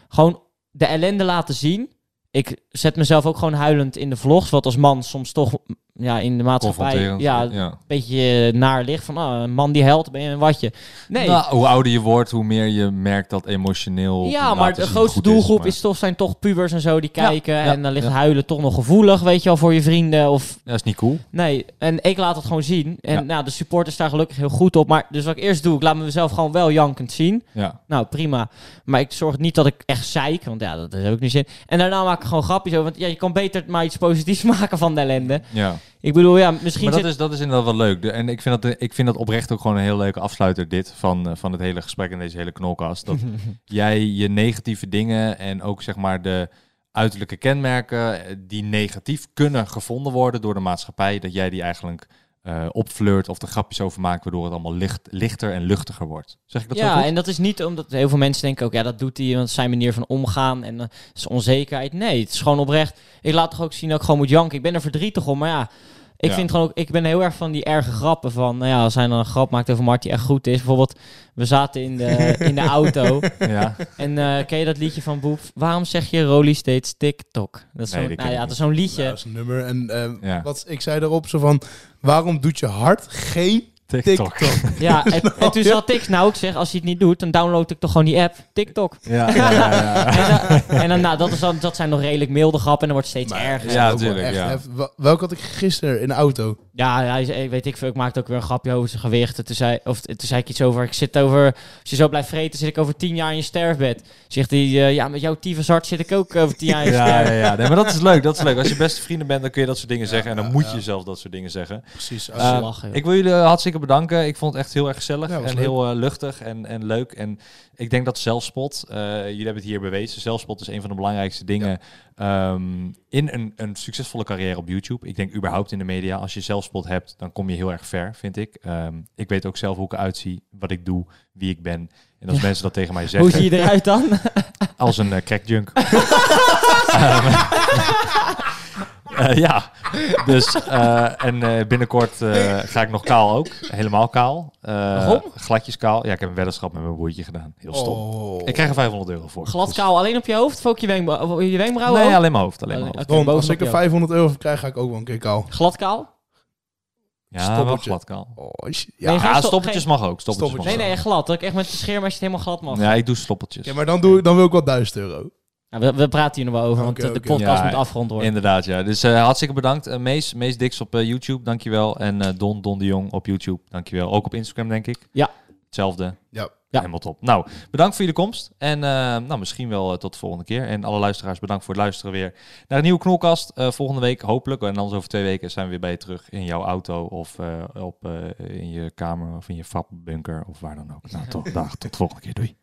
[SPEAKER 4] Gewoon de ellende laten zien. Ik zet mezelf ook gewoon huilend in de vlogs. Wat als man soms toch ja, in de maatschappij
[SPEAKER 3] Confronterend.
[SPEAKER 4] ja, een beetje eh, naar ligt. Van ah, een man die helpt, ben je een watje. Nee,
[SPEAKER 3] Nou, hoe ouder je wordt, hoe meer je merkt dat emotioneel.
[SPEAKER 4] ja,
[SPEAKER 3] laten
[SPEAKER 4] maar de
[SPEAKER 3] zien
[SPEAKER 4] grootste
[SPEAKER 3] goed
[SPEAKER 4] doelgroep
[SPEAKER 3] maar-
[SPEAKER 4] is, toch, zijn toch pubers en zo die kijken.
[SPEAKER 3] ja,
[SPEAKER 4] en dan ligt
[SPEAKER 3] ja.
[SPEAKER 4] huilen toch nog gevoelig, weet je wel, voor je vrienden. Of
[SPEAKER 3] Ja, is niet cool.
[SPEAKER 4] Nee, en ik laat het gewoon zien. En
[SPEAKER 3] Ja.
[SPEAKER 4] nou, de supporters staan gelukkig heel goed op. Maar dus wat ik eerst doe, ik laat mezelf gewoon wel jankend zien.
[SPEAKER 3] Ja.
[SPEAKER 4] Nou, prima. Maar ik zorg niet dat ik echt zeik, want ja, dat is ook niet zin. En daarna maak ik gewoon grapjes over. Want ja, je kan beter maar iets positiefs maken van de ellende.
[SPEAKER 3] ja.
[SPEAKER 4] Ik bedoel, ja, misschien
[SPEAKER 3] Maar dat
[SPEAKER 4] zit...
[SPEAKER 3] is, dat is inderdaad wel leuk. De- en ik vind, dat, ik vind dat oprecht ook gewoon een heel leuke afsluiter, dit, van, eh, van het hele gesprek en deze hele knolkast. Dat jij je negatieve dingen en ook zeg maar de uiterlijke kenmerken eh, die negatief kunnen gevonden worden door de maatschappij, dat jij die eigenlijk eh opfleurt of er grapjes over maakt, waardoor het allemaal licht, lichter en luchtiger wordt. Zeg ik dat zo
[SPEAKER 4] ja,
[SPEAKER 3] goed?
[SPEAKER 4] en dat is niet omdat heel veel mensen denken ook, ja, dat doet hij, want het is zijn manier van omgaan en eh, het is onzekerheid. Nee, het is gewoon oprecht. Ik laat toch ook zien dat ik gewoon moet janken. Ik ben er verdrietig om, maar ja, ik
[SPEAKER 3] Ja.
[SPEAKER 4] vind gewoon ook, ik ben heel erg van die erge grappen van, nou ja, als hij dan een grap maakt over Mart die echt goed is. Bijvoorbeeld, we zaten in de, in de auto
[SPEAKER 3] Ja.
[SPEAKER 4] en eh, ken je dat liedje van Boef? Waarom zeg je Rolly steeds TikTok? Dat is
[SPEAKER 3] Nee,
[SPEAKER 4] zo'n-
[SPEAKER 3] die ken
[SPEAKER 4] nou
[SPEAKER 3] ik
[SPEAKER 4] ja, dat
[SPEAKER 3] niet.
[SPEAKER 4] is zo'n
[SPEAKER 5] Ja, dat
[SPEAKER 4] liedje.
[SPEAKER 5] is een nummer. En eh,
[SPEAKER 3] Ja.
[SPEAKER 5] wat ik zei daarop, zo van, waarom doet je hart geen TikTok?
[SPEAKER 4] Ja, en, en toen zat ik, nou, ik zeg, als hij het niet doet, dan download ik toch gewoon die app, TikTok.
[SPEAKER 3] Ja, ja, ja, ja.
[SPEAKER 4] En, dan- en dan, nou, dat, is dan, dat zijn nog redelijk milde grappen en dan wordt het steeds
[SPEAKER 5] Maar-
[SPEAKER 4] erger.
[SPEAKER 3] Ja,
[SPEAKER 5] Ook wel
[SPEAKER 3] tuurlijk,
[SPEAKER 5] echt
[SPEAKER 3] ja.
[SPEAKER 5] hef- Wa- Welke had ik gisteren in de auto?
[SPEAKER 4] Ja, hij zei, weet ik veel. Ik maakte ook weer een grapje over zijn gewicht. En Toen zei, of, toen zei ik iets over, ik zit over... Als je zo blijft vreten, zit ik over tien jaar in je sterfbed. Zegt hij, eh, ja, met jouw tyfushart zit ik ook over tien jaar in je
[SPEAKER 3] Ja, ja,
[SPEAKER 4] sterfbed.
[SPEAKER 3] ja. Nee, maar dat is leuk. Dat is leuk. Als je beste vrienden bent, dan kun je dat soort dingen zeggen. En dan moet je zelf dat soort dingen zeggen.
[SPEAKER 5] Precies.
[SPEAKER 4] Dat is
[SPEAKER 3] Ehm,
[SPEAKER 4] lachen, joh.
[SPEAKER 3] Ik wil jullie eh, hartstikke bedanken. Ik vond het echt heel erg gezellig.
[SPEAKER 5] Ja, was
[SPEAKER 3] en
[SPEAKER 5] leuk.
[SPEAKER 3] heel eh, luchtig en, en leuk. En ik denk dat zelfspot, eh, jullie hebben het hier bewezen. Zelfspot is een van de belangrijkste dingen ehm, in een, een succesvolle carrière op YouTube. Ik denk überhaupt in de media. Als je zelfspot hebt, dan kom je heel erg ver, vind ik. Ehm, ik weet ook zelf hoe ik eruit zie, wat ik doe, wie ik ben. En als mensen dat tegen mij
[SPEAKER 4] Hoe
[SPEAKER 3] zeggen,
[SPEAKER 4] zie je eruit dan?
[SPEAKER 3] als een eh, crackjunk. Ehm, eh, ja, dus eh, en eh, binnenkort eh, ga ik nog kaal ook. Helemaal kaal. Eh,
[SPEAKER 4] Waarom?
[SPEAKER 3] Gladjes kaal. Ja, ik heb een weddenschap met mijn broertje gedaan. Heel stom.
[SPEAKER 5] Oh.
[SPEAKER 3] Ik krijg er 500 euro voor.
[SPEAKER 4] Glad
[SPEAKER 3] Dus-
[SPEAKER 4] kaal alleen op je hoofd of ook je, wenkbra- of je wenkbrauwen?
[SPEAKER 3] Nee,
[SPEAKER 4] ook?
[SPEAKER 3] alleen mijn hoofd. Alleen mijn
[SPEAKER 4] Alleen-
[SPEAKER 3] hoofd.
[SPEAKER 4] oké,
[SPEAKER 5] Ron, als
[SPEAKER 4] bovenop
[SPEAKER 5] ik
[SPEAKER 4] je
[SPEAKER 5] er
[SPEAKER 4] hoofd.
[SPEAKER 5] 500 euro voor krijg, ga ik ook wel een keer kaal.
[SPEAKER 4] Glad kaal?
[SPEAKER 3] Ja, wel
[SPEAKER 5] Stoppeltje.
[SPEAKER 3] glad kaal.
[SPEAKER 5] Oh, shit. Ja.
[SPEAKER 4] Nee, ga-
[SPEAKER 3] Ja,
[SPEAKER 4] stop-
[SPEAKER 3] stoppeltjes mag ook. Stoppeltjes
[SPEAKER 5] Stoppeltjes.
[SPEAKER 4] Nee,
[SPEAKER 3] mag
[SPEAKER 4] nee, glad. Dat ik echt met de scheermes het helemaal glad mag.
[SPEAKER 3] ook. Ja, ik doe stoppeltjes.
[SPEAKER 5] ja, maar dan, doe ik, dan wil ik wel 1000 euro.
[SPEAKER 4] Ja, Nou, we, we praten hier nog wel over, want
[SPEAKER 5] Oké,
[SPEAKER 4] eh,
[SPEAKER 5] oké.
[SPEAKER 4] de podcast
[SPEAKER 3] Ja,
[SPEAKER 4] moet afgerond worden.
[SPEAKER 3] Inderdaad, ja. Dus eh, hartstikke bedankt. Eh, Mees, Mees Dix op eh, YouTube, dankjewel. En eh, Don, Don de Jong op YouTube, dankjewel. Ook op Instagram, denk ik.
[SPEAKER 4] Ja.
[SPEAKER 3] Hetzelfde.
[SPEAKER 5] Ja.
[SPEAKER 4] Ja.
[SPEAKER 3] Helemaal top. Nou, bedankt voor jullie komst. En eh, nou, misschien wel eh, tot de volgende keer. En alle luisteraars, bedankt voor het luisteren weer naar een nieuwe Knolkast. Eh, volgende week hopelijk. En anders over twee weken zijn we weer bij je terug in jouw auto of eh, op, eh, in je kamer of in je fabunker of waar dan ook. Nou, tot, dag, tot de volgende keer. Doei.